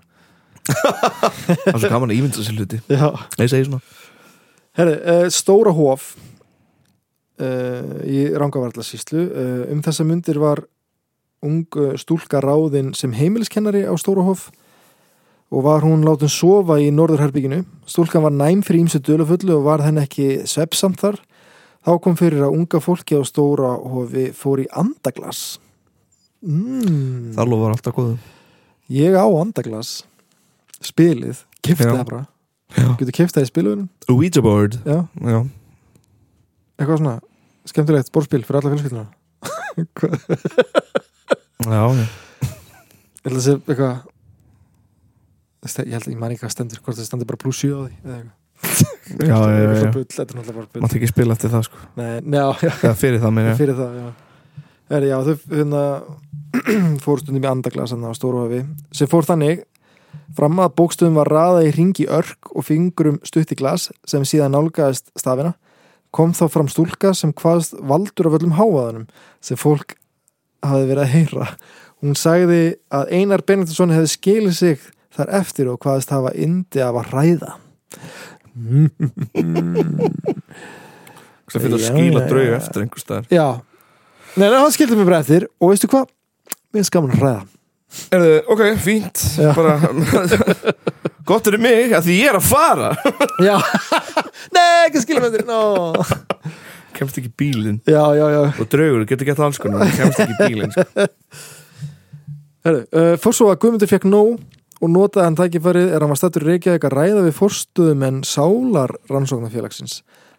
S3: Það er svo gaman að ímynda sér hluti
S4: Já,
S3: Ég segi svona
S4: herri, uh, Stóra Hof uh, í Rangavarlasíslu uh, um þessa myndir var ung eh, stúlka ráðin sem heimiliskennari á Stóra Hof og var hún látin sofa í norðurherbygginu. Stúlkan var næm fyrir ímsu dölufullu og var henn ekki svepsamt þar. Þá kom fyrir að unga fólki á Stóra Hofi fór í andaglas. Mm.
S3: Það lofar alltaf góðu
S4: Ég á andaglas. Spilið. Kifti
S3: Já.
S4: það bara.
S3: Já.
S4: Getur kiftið það í spilunum?
S3: Ouija board
S4: Já.
S3: Já
S4: Eitthvað svona skemmtilegt borðspil fyrir alla fjölskylduna.
S3: Já, já
S4: Ég held að segja eitthvað Ste- Ég held að ég man ekki hvað stendur Hvort það stendur bara pluss 7 á því eða eitthvað.
S3: Já, já,
S4: Eitthvað
S3: já,
S4: svona
S3: já.
S4: bull, Þetta er náttúrulega bara
S3: Mátti ekki spila eftir það sko
S4: bull Nei, njá, já,
S3: Eða fyrir það meina ég.
S4: fyrir það já. Er, já, Þau hérna, fór stundum í andaglas hérna á Stóruhafi sem fór þannig fram að bókstöðum var raða í ringi örk og fingurum stutt í glas sem síðan nálgaðist stafina kom þá fram stúlka sem hvaðst valdur af öllum háaðanum sem fólk hafði verið að heyra hún sagði að Einar Benediktsson hefði skilið sig þar eftir og hvaðist hafa yndi af að ræða
S3: Það fyrir að
S4: Já,
S3: skýla
S4: já,
S3: drauga
S4: já.
S3: eftir einhver staðar
S4: Já, nei, nei, hann skildi mig bara eftir og veistu hvað, mér er skaman að ræða
S3: Erðu, ok, fínt
S4: Já.
S3: bara, Gott er mig að því ég er að fara
S4: Já, nei, ekki skilja með þér no.
S3: Kemst ekki í bílinn
S4: Já, já, já
S3: Og draugur, getur gett alls konar Kemst ekki í bílinn sko.
S4: Herru, uh, fór svo að Guðmundur fekk nóg og notaði hann tækifærið er hann var stættur Reykjavík að ræða við fórstuðum en sálar rannsóknarfélagsins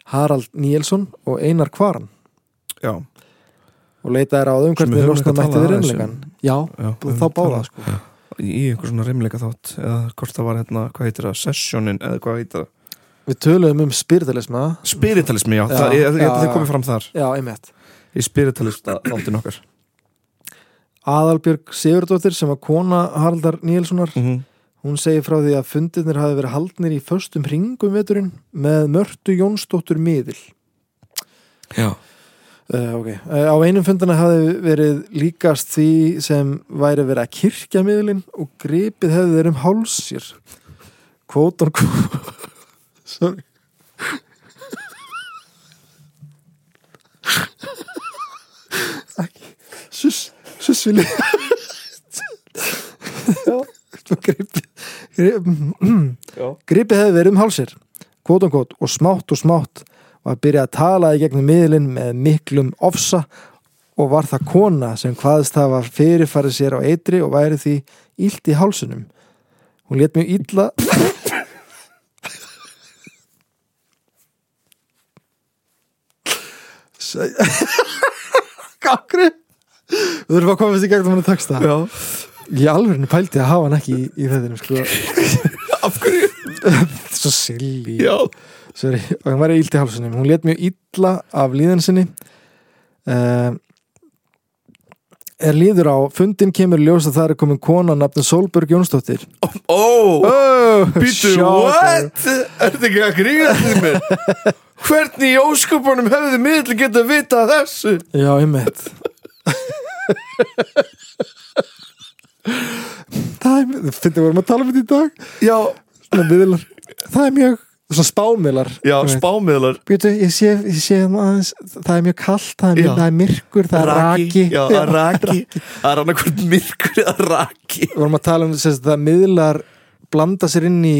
S4: Harald Níelsson og Einar Kvaran
S3: Já,
S4: og leitaði ráðum
S3: Sem
S4: hvernig
S3: við
S4: þeir
S3: höfum
S4: losna
S3: ekki
S4: mætti
S3: talað
S4: við
S3: aðeins um.
S4: reynleikan já,
S3: Já,
S4: þá báða sko.
S3: Í einhver svona reymleika þátt eða hvort það var hérna, hvað heitir það, sessionin eða hvað heitir það
S4: við töluðum um spyrðalisma
S3: Spiritalismi, já,
S4: Já,
S3: það, ég, ég,
S4: já,
S3: það
S4: já.
S3: komið fram þar
S4: já, einmitt
S3: Í spiritalista þáttin okkar
S4: Aðalbjörg Sigurdóttir sem var kona Haraldar Níelssonar
S3: Mhm.
S4: Hún segir frá því að fundirnir hafi verið haldnir í föstum hringum veturinn með Mörtu Jónsdóttur miðil.
S3: Já.
S4: Uh, ok. Uh, á einum fundana hafi verið líkast því sem væri verið að kirkja miðilinn og gripið hefði þeir um hálsir. Kvótan kvótan. Sorry. Æ, Suss, suss vilja. Já, svo gripið. gripið. Gripið hefði verið um hálsir, kvótum kvót og smátt og smátt var að byrja að tala í gegnum miðlinn með miklum ofsa og var það kona sem hvaðist hafa fyrirfarið sér á eitri og væri því illt í hálsunum. Hún let mjög illa... Gangri! Við þurfum að komast í gegnum hann að texta. Já. Ég alveg pældi að hafa hann ekki í, í þeirnum, sko.
S3: Af hverju?
S4: Svo silly.
S3: Já
S4: Sorry, og hann var í íldi hálsunum hún let mjög illa af líðan sinni uh, er líður á fundin kemur í ljós að það er komin kona nafnum Solberg Jónsdóttir
S3: Ó,
S4: oh,
S3: býtu, what? Er þetta ekki að gríðast í mér? Hvernig í óskupunum hefði miðl geta vita þessu?
S4: já, einmitt það er mjög þetta vorum að tala um þetta í dag
S3: Já,
S4: svona miðlar það er mjög svona spámiðlar
S3: já, spámiðlar
S4: Býtu, ég sé, ég sé hérna aðeins, það er mjög kallt, það er,
S3: Já.
S4: mjög, það er myrkur, það er raki.
S3: Já, að raki Það er annað hvort myrkur eða raki
S4: við vorum að tala um sérst, það að miðlar blanda sér inn í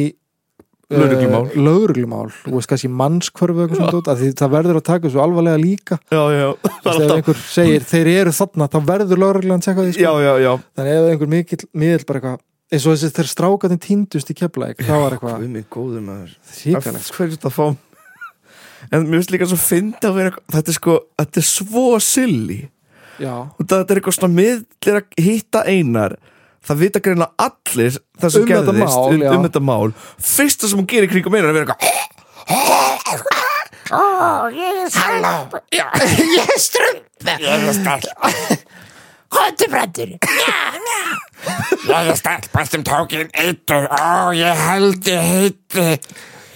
S3: Lögreglumál.
S4: uh, lögreglumál þú veist kannski mannskvörfu eitthvað svona dót, af því það verður að taka svo alvarlega líka
S3: Já, já, það
S4: Þess,
S3: er
S4: ef
S3: alltaf
S4: einhver segir þeir eru þarna þá verður lögreglan að tjekka því
S3: Já,
S4: sko.
S3: já, já
S4: þannig ef einhver mikill miðl bara eitthvað eins og þessi þegar strákatinn týndust í keflæk þá var eitthvað
S3: mig góður maður
S4: hríkalegt
S3: Hverju þetta fá En mér finnst líka svo fyndi að vera Þetta er sko, þetta er svo silly
S4: já,
S3: og þetta er eitthvað svona miðlir að hitta einar það vita greina allir það sem
S4: Um þetta
S3: gerðist
S4: mál,
S3: um,
S4: já.
S3: um þetta mál fyrsta sem hún gerir í kringum einar er að vera eitthvað
S6: Komdu bröndur Ég er stelpa sem tók inn eitur Ó, ég held ég heiti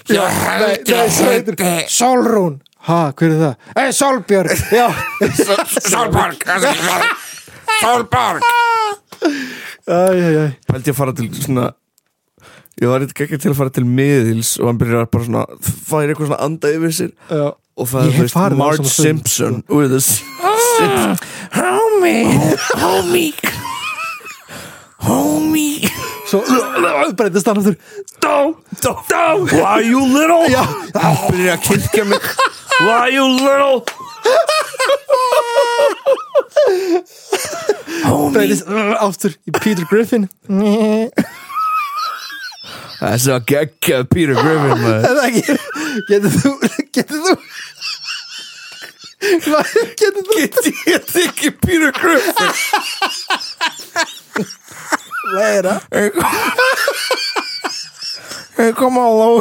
S6: Ég held
S4: nei,
S6: ég
S4: svo heitir-
S6: heiti
S4: Solrún, ha, hver er það? ei, Solbjörg, já
S6: Sólborg hvað sem ég sagði.
S4: æ,
S6: Sólborg
S4: æ, æ.
S3: held ég að fara til svona ég var eitthvað ekki til að fara til miðils og hann byrjar bara svona fær eitthvað svona anda yfir sér
S4: Já.
S3: og það
S4: Ég
S3: er
S4: hef
S3: þú veist
S4: farið á
S3: Marge
S4: svona fund,
S3: Simpson with a s- Simpson
S6: Homie Homie Homie
S4: svo breytist hann aftur
S2: Dó, dó, dó Why you little Já Hann byrjar að kirkja mig Why you little
S4: breytist aftur í Peter Griffin
S3: það er svo að gegja Peter Griffin maður.
S4: eða ekki getur þú getur þú Hvað- getur þú
S3: Get- ég þykki Peter Griffin
S4: læra
S3: Hey, come on Lou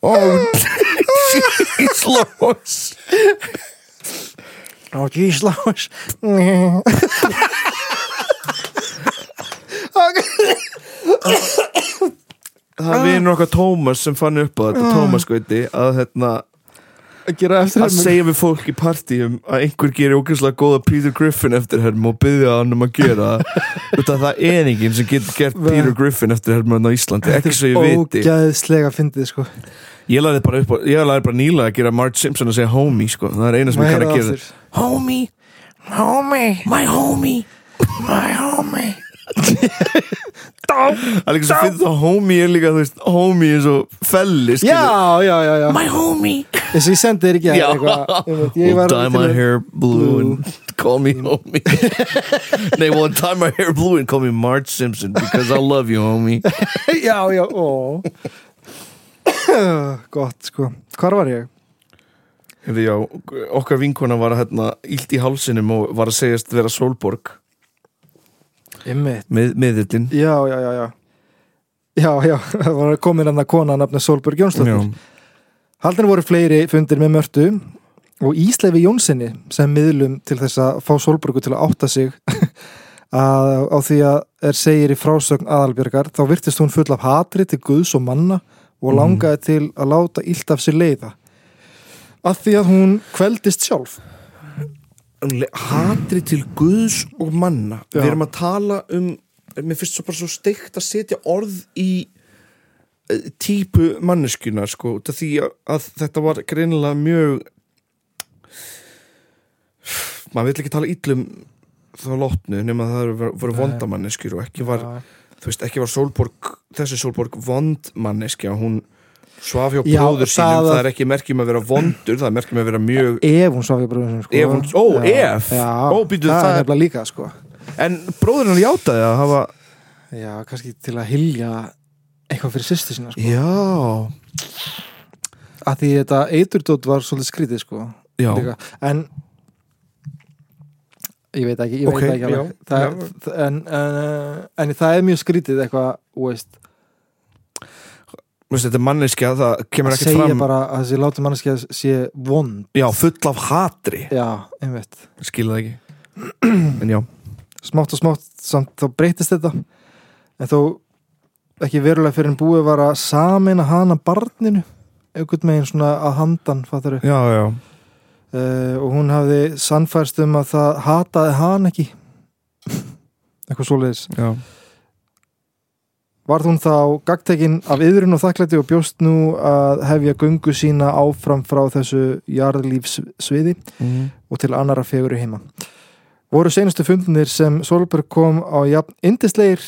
S3: oh jeez Lois
S4: og gísla
S3: það er vinur okkar Tómas sem fann upp á þetta Tómas guði að hérna
S4: að gera eftir
S3: að segja við fólk í partíum að einhver gerir ógæslega góða Peter Griffin eftir herm og byggja hann um að gera það Út af það er enginn sem getur gert Peter Griffin eftir herm á Íslandi ekki svo ég viti
S4: ógæðslega fyndið sko
S3: ég laði bara, upp á, ég lagði bara nýla að gera Marge Simpson að segja homie sko það er eina sem ég kann að gera
S6: Homie Homie My homie My homie
S3: Það er líka svo fyrir það homie er líka, þú veist, homie er svo felli, skilur.
S4: já, já, já, já
S6: My homie
S4: eins og ég sendi þér ekki
S3: Já.
S4: eitthvað ég veit, ég
S3: We'll
S4: var
S3: dye my
S4: til-
S3: hair blue and call me homie. Nei, we'll dye my hair blue and call me Marge Simpson because I love you, homie.
S4: já, já, ó gott sko hvar var ég?
S3: Heyrðu, Já, okkar vinkona var hérna ílt í hálsinum og var að segjast vera Solborg
S4: Einmitt.
S3: með, meðillin
S4: já, já, já, já já, já, það var komin hann að kona nafni Solbjörg Jónsdóttir Haldin voru fleiri fundir með Mörtu og Ísleifi Jónssoni sem miðlum til þess að fá Solbjörgu til að átta sig að, á því að er segir í frásögn aðalbjörgar þá virtist hún full af hatri til guðs og manna og langaði til að láta illt af sér leiða að því að hún kveldist sjálf
S3: um Hatri til guðs og manna
S4: Já.
S3: Við erum að tala um Mér finnst svo bara svo steikt að setja orð í eh, típu manneskjuna sko, út af því að, að þetta var greinilega mjög maður vill ekki tala illum þá lotnu nema það eru- voru vondamanneskjur og ekki var þú veist, ekki var Sólborg, þessi Sólborg vond manneskja, hún svaf hjá
S4: Já,
S3: bróður
S4: það
S3: sínum,
S4: að-
S3: það er ekki merkjum að vera vondur, það er merkjum að vera mjög
S4: ef hún svaf í bröðunum sko.
S3: Ef hún- ó,
S4: Já,
S3: ef.
S4: já,
S3: Ó, býtu,
S4: það,
S3: það
S4: er
S3: er-
S4: nefnilega líka sko.
S3: en bróður hann játaði að hafa
S4: já, kannski til að hilja eitthvað fyrir sýstu sína sko.
S3: já,
S4: að því þetta eiturdótt var svolítið skrítið sko
S3: já,
S4: líka. en ég veit ekki, ég
S3: Ok,
S4: veit ekki
S3: já,
S4: alveg það, er- en, en, eh, en það er mjög skrítið eitthvað þú veist,
S3: Þú veist, þetta er manneskja, það kemur
S4: að
S3: ekki
S4: segja
S3: fram
S4: bara að þessi látum manneskja sé vond
S3: já, full af hatri,
S4: já, einmitt
S3: skilða ekki en já,
S4: smátt og smátt samt þá breytist þetta en þó ekki verulega fyrir en búið var að sameina hana barninu einhvern megin svona að handan
S3: já,
S4: fattaru
S3: já
S4: uh, og hún hafði sannfærst um að það hataði hann ekki eitthvað svoleiðis
S3: já,
S4: Varð hún þá gagtekinn af yðrun og þakklæti og bjóst nú að hefja göngu sína áfram frá þessu jarðlífsviði og til annara feguru heima. Voru seinustu fundinir sem Solberg kom á jafn indisleir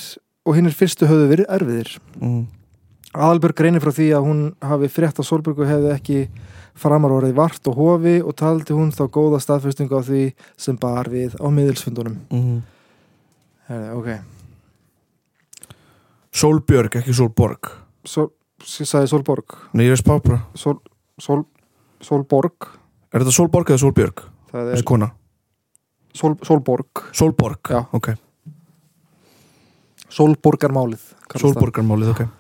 S4: og hinnir fyrstu höfðu verið erfiðir.
S3: Mm.
S4: Aðalberg reynir frá því að hún hafi frétt að Solbergu hefði ekki framar orðið vart og hofi og taldi hún þá góða staðfestingu á því sem bar við á miðilsfundunum.
S3: Mm.
S4: Herði, ok.
S3: Sólbjörg, ekki Sólborg
S4: Sol, sagði Solborg.
S3: nei, ég er spápra,
S4: Sol, Sol, Solborg.
S3: er þetta Sólborg eða Sólbjörg,
S4: Það er
S3: þessi kona
S4: Sol, Solborg
S3: Sólborg,
S4: Já.
S3: ok,
S4: Solborgarmálið kallast
S3: Sólborgarmálið, ok
S4: það.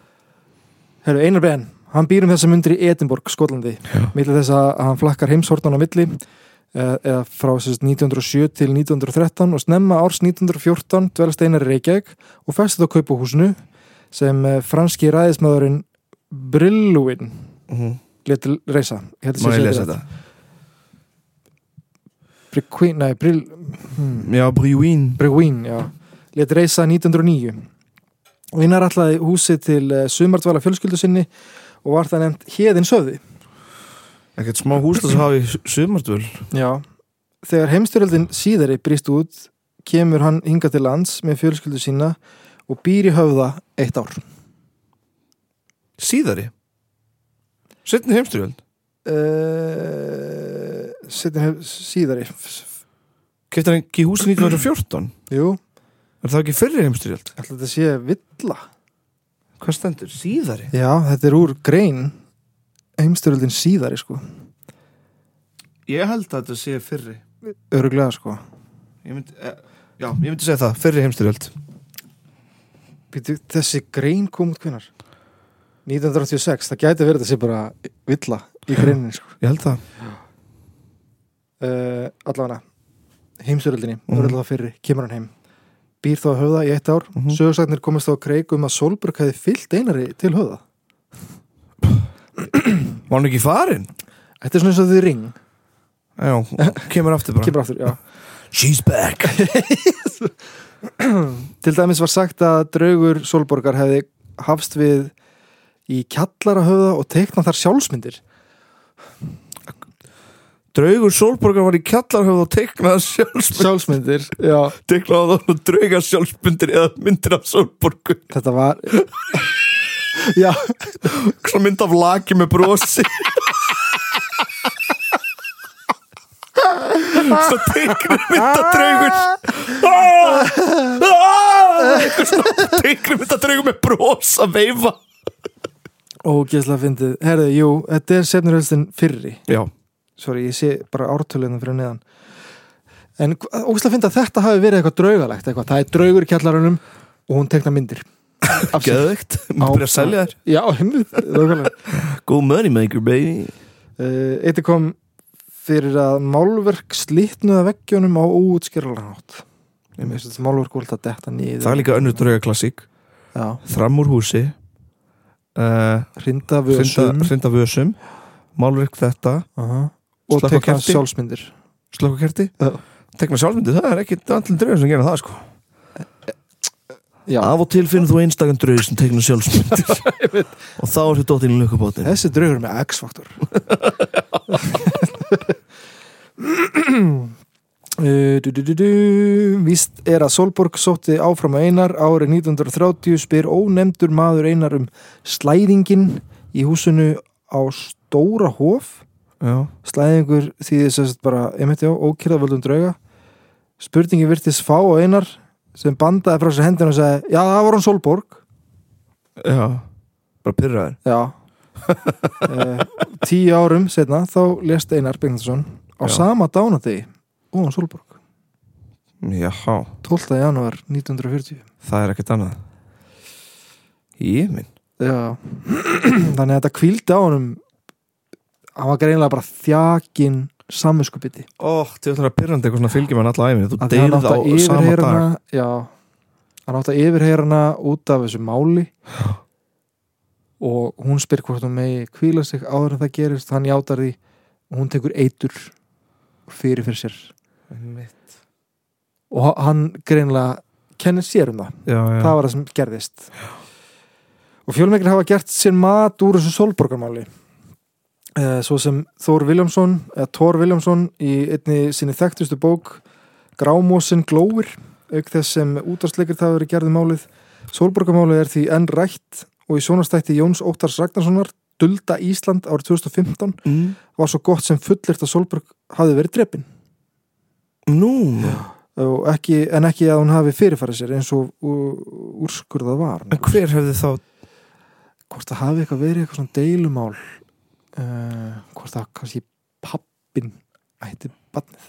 S4: Herru, Einar Ben, hann býr um þessa mundur í Edinborg, Skotlandi millir þess að hann flakkar heimshornan á milli eh, eða frá sérst 1907 til 1913 og snemma árs 1914 dvelst Einar í Reykjavík og festið á kaupuhúsinu sem eh, franski ræðismæðurinn Brilluin
S3: Mhm.
S4: letil reisa Ég held að
S3: Má
S4: sé
S3: ég
S4: rétt.
S3: lesa þetta?
S4: Briquin, nei, Brill hmm.
S3: Já, Brewin
S4: Brewin, já let reisa 1909 og hinnar ætlaði húsið til eh, sumardvala fjölskyldu sinni og var það nefnt Héðin Söði
S3: Ekkert smá hús þess að hafa í sumardvöl
S4: já. þegar heimstyrjöldin síðari brýst út kemur hann hinga til lands með fjölskyldu sína og býr í höfða eitt ár
S3: Síðari Setni heimstyrjöld
S4: uh, setjum síðari
S3: Kefti hann ekki húsin 1914
S4: jú,
S3: Er það ekki fyrri heimstyrjöld?
S4: ætla þetta sé villa
S3: Hvað stendur? Síðari?
S4: já, þetta er úr grein heimstyrjöldin síðari sko
S3: Ég held að þetta sé fyrri
S4: öruglega sko
S3: ég myndi, eh, Já, ég myndi segja það, fyrri heimstyrjöld
S4: Býtu, þessi grein kom út hvenar? 1986, það gæti verið þessi bara villa í greinin sko.
S3: Ég held það
S4: uh, allavega heimsöröldinni,
S3: Mhm.
S4: mm. öröldlega fyrri, kemur hann heim býr þá að höfða í eitt ár mm
S3: Mhm.
S4: sögursagnir komist þá að kreik um að Solberg hefði fyllt einari til höfða
S3: Var hann ekki farin?
S4: Þetta er svona eins og því ring,
S3: Já, kemur aftur bara
S4: kemur aftur, já
S3: She's back
S4: Til dæmis var sagt að draugur Solborgar hefði hafst við í kjallarahöfða og teiknað þar sjálfsmyndir
S3: Draugur Sólborgar var í kjallarhöfð og teiknaði sjálfsmynd
S4: Sjálfsmyndir, já
S3: Teiknaði það draugar sjálfsmyndir eða myndir af Sólborgu
S4: Þetta var Já,
S3: Svona mynd af laki með brosi Svo teiknir mynd af draugur Ah! Eitthvað svona teiknir mynd af draugur með bros að veifa
S4: Ógeðslega fyndið. Herðu, jú, þetta er sefnurhöldsinn fyrri.
S3: Já,
S4: sorry, ég sé bara ártöluna fyrir neðan en ógæslega fyndi að þetta hafi verið eitthvað draugalegt eitthvað, það er draugur í kjallarunum og hún tekna myndir Af sér.
S3: Gæðvegt,
S4: Á-
S3: maður byrja að selja þér
S4: Já, einmitt, nákvæmlega.
S3: Go money maker baby
S4: uh, Eitt kom fyrir að málverk slitnuða veggjónum á óútskýrlega nátt Ég meðist að málverk voru alltaf detta nýður
S3: Það er líka önnur draugaklassík
S4: Já,
S3: Fram úr húsi uh,
S4: hrinda við sum
S3: Hrinda vösum Málverk þetta,
S4: og
S3: Slökkva
S4: tekna
S3: kerti.
S4: sjálfsmyndir
S3: slökkakerti
S4: Já.
S3: Tekna sjálfmyndi, það er ekki allir draugur sem gera það sko
S4: Já,
S3: Af og til finnur þú einstakann draugur sem tekna sjálfsmyndir Og þá er þetta dóttin í lukkubótin
S4: þessi draugur er með X-faktor Uh, du, du, du, du. Víst er að Solborg sótti áfram að Einar árið 1930 spyr ónefndur maður Einar um slæðingin í húsinu á Stóra Hof
S3: Já,
S4: slæðingur því þess að bara, ég myndi á, ókyrðavöldum drauga spurningi virtist fá á einar sem bandaði frá sér hendina og sagði já, það var hún Solborg
S3: já Bara pyrraður
S4: já uh, tíu árum setna þá lést Einar Bengtsson á
S3: Já.
S4: sama dánati og hún Solborg
S3: Jáhá
S4: 12. janúar 1940
S3: Það er ekkert annað Ég minn
S4: já þannig að þetta kvíldi á honum hann var greinlega bara þjakin samvinskupiti
S3: Óh, til að það er pyrrandi eitthvað svona fylgjum hann alla æfini Þú
S4: að hann
S3: deyrð
S4: átt
S3: á
S4: að
S3: sama
S4: yfirheyra
S3: dag
S4: hana já, hann átt að yfirheyra hana út af þessu máli og hún spyr hvort hún megi kvíla sig áður en það gerist hann játar því og hún tekur eitur fyrir fyrir sér og ha- hann greinlega kennir sér um það
S3: Já, já
S4: það var það sem gerðist og fjölmengir hafa gert sér mat úr þessu solborgarmáli Eh, svo sem Þór Viljámsson eða Thor Viljámsson í einni sinni þekktustu bók Grámósin glóir auk þess sem útarsleikir það verið gerði málið solborgarmálið er því enn rætt og í sjónastætti Jóns Óttars Ragnarssonar Dulda Ísland árið 2015
S3: mm.
S4: var svo gott sem fullirt að Solborg hafi verið drepin
S3: Nú
S4: og ekki, en ekki að hún hafi fyrirfarið sér eins og ú- úrskurðað var
S3: En hver hefði þá
S4: hvort það hafi eitthvað verið eitthvað svona deilumál uh, hvort það kannski pappin ætti barnið,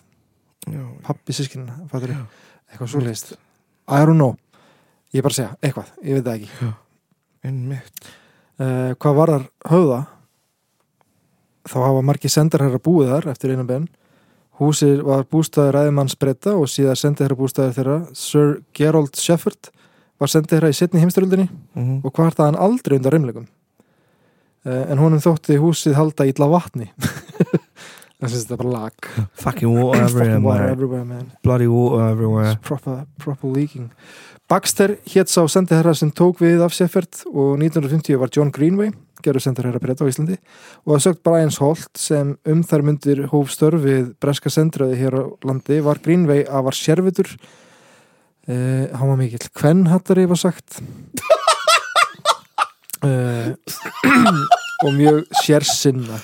S3: Já,
S4: pappi sískinn fattur eitthvað svo leist I don't know, ég er bara að segja eitthvað, ég veit það ekki
S3: einmitt
S4: uh, hvað varðar höfða þá hafa margi sendarherra búið þar eftir einu benn húsið var bústæður æðimanns breyta og síðar sendiherra bústæður þeirra Sir Gerald Shefford var sendiherra í setni heimstyröldinni
S3: Mhm.
S4: og hvartaði hann aldrei undan reymlegum en honum þótti húsið halda ítla vatni það syns þetta bara lag
S3: Fucking war everywhere
S4: Fucking water
S3: man.
S4: everywhere man
S3: Bloody war everywhere
S4: It's proper, proper leaking Baxter hétt sá sendiherra sem tók við af Seffert og 1950 var John Greenway gerur sendiherra breyta á Íslandi og að sögt Brian's Holt sem um þær myndir hóf störf við breska sendraði hér á landi var Greenway að var sérvitur uh, hann var mikill kvennhattari var sagt uh, og mjög sérsinna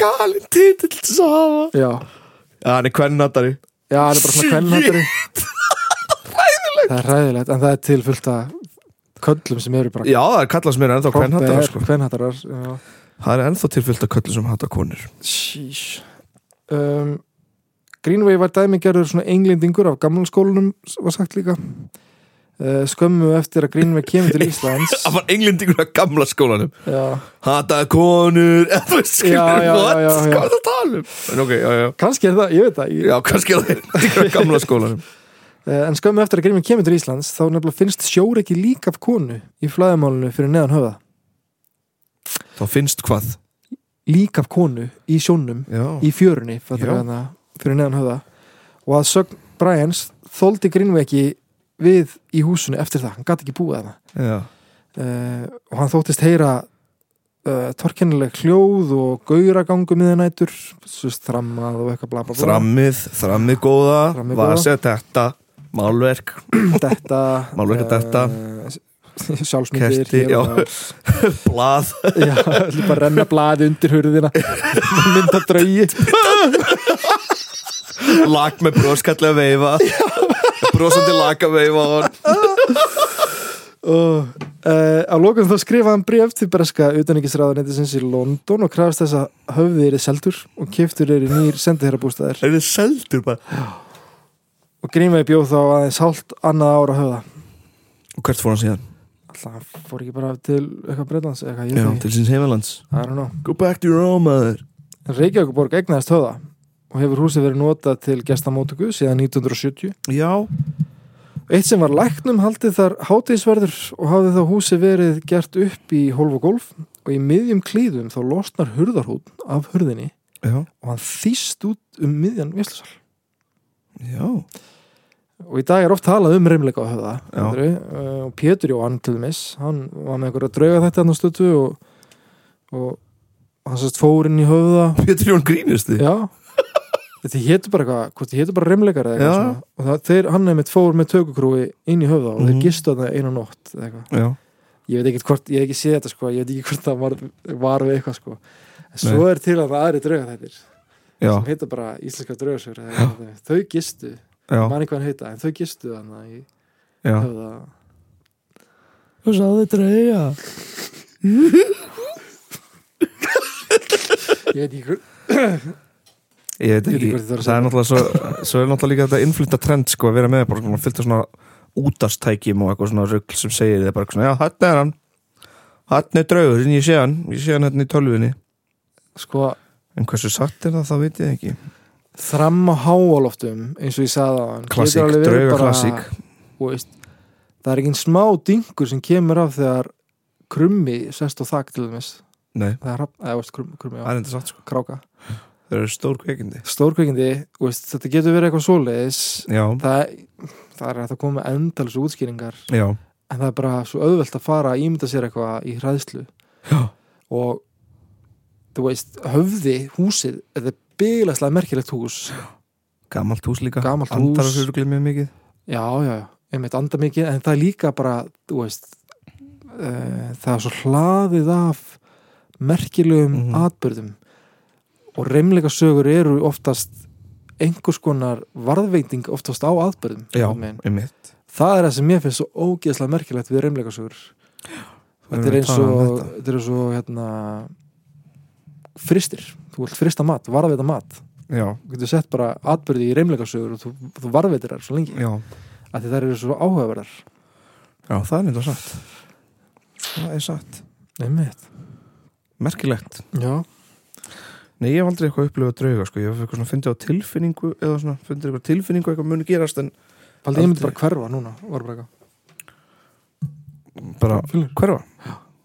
S3: Galin titill til að hafa
S4: já,
S3: Já, hann er kvennatari
S4: já, hann er bara svona kvennhattari það er ræðilegt en það er til fullt að köllum sem eru bara
S3: Já, það er kallað sem er ennþá kvennatari sko.
S4: Kvennhattarar
S3: Það er ennþá tilfyllt að köllu sem hata konur
S4: Sheesh um, Greenway var dæmigerður svona englendingur af gamla skólanum var sagt líka uh, skömmu eftir að Greenway kemur til Íslands
S3: Það var englendingur að gamla skólanum
S4: já.
S3: Hata konur eða Þú veist, skilur,
S4: Já, já,
S3: what?
S4: já, já, já.
S3: Hvað er það að tala um? En ok, já, já
S4: kannski er það, ég veit það ég,
S3: Já, kannski að það er englendingur að gamla skólanum
S4: uh, en skömmu eftir að Greenway kemur til Íslands þá nefnilega finnst sjór ekki líka af konu í flæðumálinu fyrir neðan höfða
S3: Þá finnst hvað?
S4: líka af konu í sjónum
S3: Já,
S4: í fjörunni fattar
S3: Já.
S4: við hana, fyrir neðan höfða og að sögn Brians þóldi Greenway ekki við í húsinu eftir það, hann gæti ekki búið hana
S3: já.
S4: uh, og hann þóttist heyra uh, torkennileg hljóð og gauragangum miðanætur þrammað og eitthvað bla bla bla
S3: Þrammið, þrammið góða
S4: Þrammið góða.
S3: Vasið þetta, málverk
S4: detta,
S3: Málverk að detta.
S4: uh, sjálfsmyndir
S3: Kerti,
S4: hér og
S3: Blað
S4: þar. já, ætli bara að renna blaði undir hurðina mynda draugi
S3: Lag með broskallið að veifa Brosandi lag að veifa á hann
S4: uh, Uh, á lókum þá skrifaði hann bréf til breska utanrikisráðanetisins í London og krafst þess að höfði er seldur og keftur er í nýr sendiherrabústæðir
S2: Er þið seldur bara?
S4: og Greenway bjóð þá aðeins hálft annað ára höfða
S3: Og hvert fór hann síðan?
S4: alltaf hann fór ekki bara til eitthvað Breitlands eða
S3: Já,
S4: eitthvað, ég veit
S3: til síns heimalands
S4: ekki I don't know
S2: Go back to your own maður
S4: En Reykjavíkuborg egnaðist höfða og hefur húsið verið notað til gestamótöku síðan 1970
S3: Já
S4: Eitt sem var læknum haldið þar hátíðisverður og hafði þá húsið verið gert upp í hólf og golf og í miðjum klíðum þá losnar hurðarhún af hurðinni
S3: Já,
S4: og hann þýst út um miðjan Veslusal.
S3: já
S4: Og í dag er oft talað um reymleika á höfða
S3: Já.
S4: Andri, eh, og Pétur Jóhann til þess, hann var með einhverja drauga þetta hann á stötu og, og hann sérst fór inn í höfða
S3: Pétur Jón grínist þið
S4: Já Þetta hétu bara eitthvað, hvort þetta hétu bara remleikar eða eitthvað
S3: Já.
S4: svona og það, þeir, hann einmitt fór með tökukrúi inn í höfða og
S3: Mhm.
S4: þeir gistu þarna eina nótt eða eitthvað.
S3: Já,
S4: Ég veit ekki hvort, ég hef ekki séð þetta sko ég veit ekki hvort það var, var við eitthvað sko en svo er til að það aðri drauga þættir
S3: já,
S4: sem heita bara íslenska draugasögur eða eitthvað. þau gistu,
S3: já,
S4: manni hvað hann heita en þau gistu þarna í
S3: já
S4: höfða
S2: Hvað sagði þetta að eiga?
S4: ég veit ekki hvort
S3: Ég veit
S4: Ég veit
S3: ekki,
S4: ekki hvað þið þarf að
S3: það er náttúrulega svo, svo er náttúrulega líka þetta innflytta trend sko að vera með bara svona fylgta svona útastækjum og eitthvað svona rugl sem segir þið bara eitthvað svona, já, þarna er hann þarna er draugurinn, ég sé hann ég sé hann hérna í tölvunni
S4: sko,
S3: en hversu satt er það, það veit ég ekki
S4: þram á háaloftum eins og ég sagði á hann
S3: Klassík, drauga klassík
S4: þú veist, það er ekki smá dingur sem kemur af þegar krummi sest og þak til þess
S3: Nei,
S4: það er hafn, eða veist, krummi, krummi
S3: það
S4: á
S3: er enda satt sko
S4: kráka,
S3: þau eru stór kveikindi
S4: stórkveikindi þú veist, þetta getur verið eitthvað svoleiðis
S3: Já,
S4: það, það er hægt að koma með endalus útskýringar
S3: já,
S4: en það er bara svo auðvelt að fara að ímynda sér eitthvað í hræðslu
S3: já,
S4: og þú veist, höfði húsið, þetta er byggilega merkilegt hús
S3: gamalt hús líka
S4: Gamalt hús.
S3: Andar þessu ruglið mjög mikið
S4: já, já, já, einmitt anda mikið en það er líka bara, þú veist uh, það er svo hlaðið af merkilegum
S3: Mhm.
S4: atbyrðum og reymleika sögur eru oftast einhvers konar varðveiting oftast á atbyrðum
S3: Já,
S4: einhvern veginn.
S3: um mitt
S4: það er það sem mér finnst svo ógeðslega merkilegt við reymleika sögur þetta er eins og um þetta er eins og hérna fristir, þú vilt frista mat varðveita mat,
S3: Já,
S4: þú getur sett bara atbyrði í reymleika sögur og þú, þú varðveitir þar svo lengi
S3: já,
S4: að því þær eru svo áhugaverðar
S3: já, það er enda satt Það er satt
S4: Einmitt.
S3: Merkilegt
S4: Já,
S3: Nei, ég hef aldrei eitthvað upplifað drauga sko. Ég hef eitthvað svona fundið á tilfinningu eða svona fundið eitthvað tilfinningu að eitthvað muni gerast en
S4: Paldi, ég myndi
S3: Aldrei.
S4: bara hverfa núna var bara eitthvað.
S3: bara hverfa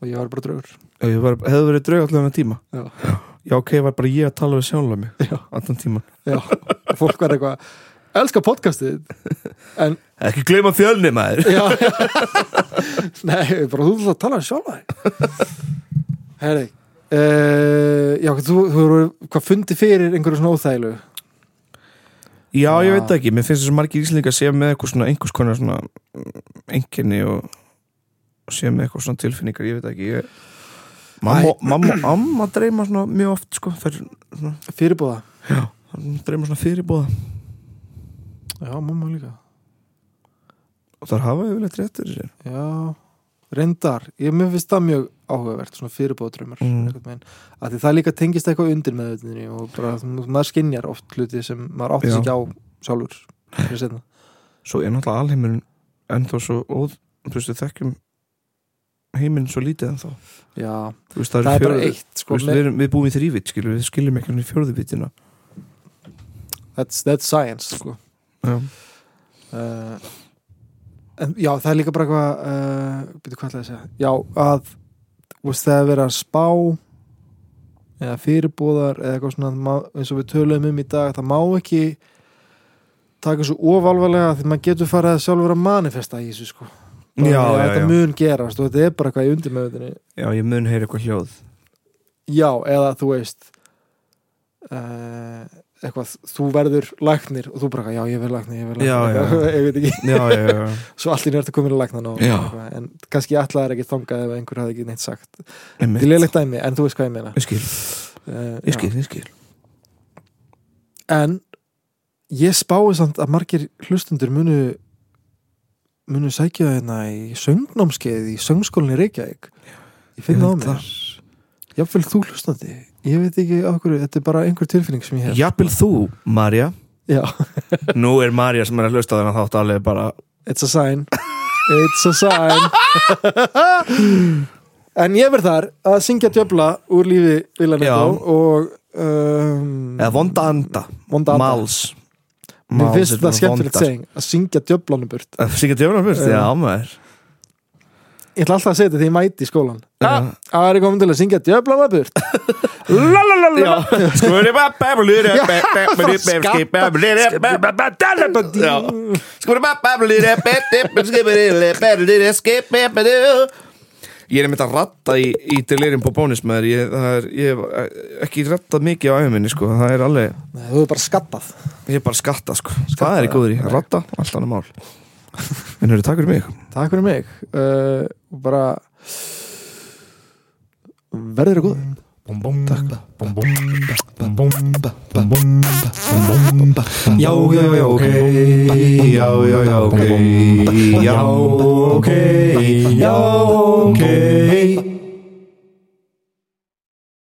S4: og ég var bara draugur
S3: Ef Ég var, hefði verið drauga allavega með tíma
S4: Já.
S3: Já, ok, var bara ég að tala við sjálflega mig Já. allan tíman
S4: Já, og fólk var eitthvað Elskar podcastið en,
S3: Ekki gleyma fjölni maður
S4: já, Nei, bara þú þarf að tala um sjálfa þig Herri uh, Já, hvað þú, þú eru hvað fundi fyrir einhverju svona óþægilu
S3: Já, ég
S4: Já.
S3: veit það ekki, mér finnst þessu margir íslendingar séu með eitthvað svona einhvers konar svona enginni og, og séu með eitthvað svona tilfinningar, ég veit það ekki ég... Mamma, mamma og amma dreyma svona mjög oft sko, þær
S4: fyrirbúða
S3: þær dreyma svona fyrirbúða
S4: Já, mamma líka
S3: og þær hafa yfirleitt réttur sér
S4: Já, reyndar ég mér finnst það mjög áhugavert svona fyrirbóðdraumar
S3: Mm.
S4: mm. að því það líka tengist eitthvað undir með auðvitaðinni og bara þú- maður skinjar oft hluti sem maður átti
S3: Já.
S4: sig ekki á sjálfur fyrir seinna.
S3: svo er náttúrulega alheimurinn ennþá svo óð, þú veist við þekkjum heiminn svo lítið ennþá
S4: Já,
S3: þú veist það,
S4: það
S3: það
S4: er
S3: fjörðu,
S4: bara eitt
S3: þú
S4: sko,
S3: veist,
S4: með,
S3: við, erum, við búum í þrývitt skilur við skiljum ekki hann í fjörðuvitina
S4: that's, that's science sko.
S3: já.
S4: uh, en, Já, það er líka bara eitthvað uh, byrju hvað ætlaði að segja Já, að þú veist, það er verið að spá eða fyrirbúðar eða eitthvað svona ma- eins og við töluðum um í dag það má ekki taka svo ofalvarlega því maður getur farið að sjálfur að manifesta í þessu sko Bara
S3: Já,
S4: að
S3: já,
S4: þetta
S3: já.
S4: mun gerast og þetta er bara eitthvað í undirmeðutinni
S3: já, ég mun heyra eitthvað hljóð
S4: já, eða þú veist uh, eitthvað þú verður læknir og þú bara eitthvað, já ég verð læknir, ég verð
S3: Já,
S4: læknir
S3: já.
S4: ég veit ekki
S3: já, já, já, já.
S4: svo allir er þetta komin að lækna nú
S3: Já.
S4: en kannski allar er ekki þangað ef einhver hafði ekki neitt sagt
S3: Einmitt.
S4: þetta er leiligt dæmi, en þú veist hvað ég meina
S3: ég skil,
S4: uh,
S3: ég skil, ég skil
S4: en ég spái samt að margir hlustundur munu munum sækja hérna í söngnámskeið í söngskólinni í Reykjavík ég finn
S3: Ég
S4: það á
S3: veit
S4: mér jafnvel þú hlustandi, ég veit ekki af hverju þetta er bara einhver tilfinning sem ég hef
S3: Jafnvel þú, Marja
S4: já,
S3: Nú er Marja sem er að hlusta þennan þátt alveg bara
S4: it's a sign it's a sign en ég verð þar að syngja djöfla úr lífi
S3: Já.
S4: Viljanetó og um,
S3: Eða vonda anda,
S4: vonda anda.
S3: Máls
S4: mér
S3: Máls er
S4: finnst það
S3: bara Eh,
S4: skemmtilegt
S3: vondar.
S4: seging að syngja djöflanum burt
S3: Að Syngja djöfnum fyrst, já maður
S4: ég ætla alltaf að segja þetta þegar ég mæti í skólan ah, það er komin til að syngja djöflanum burt
S3: Já, skurði babba Skurði babba Skurði babba Ég er einmitt að ratta í, í delirium på bónus með þér ég, það er- ég hef eh, ekki rattað mikið á æfuminni sko. það er alveg,
S4: Nei, þú er bara skattað
S3: ég er bara skatta sko. það er í góður í, ratta, allt annað mál en höfðu takk fyrir mig
S4: Takk fyrir mig uh, og bara verður að góð
S3: Já, já, já, ok Já, já, já, ok Já, ok Já, ok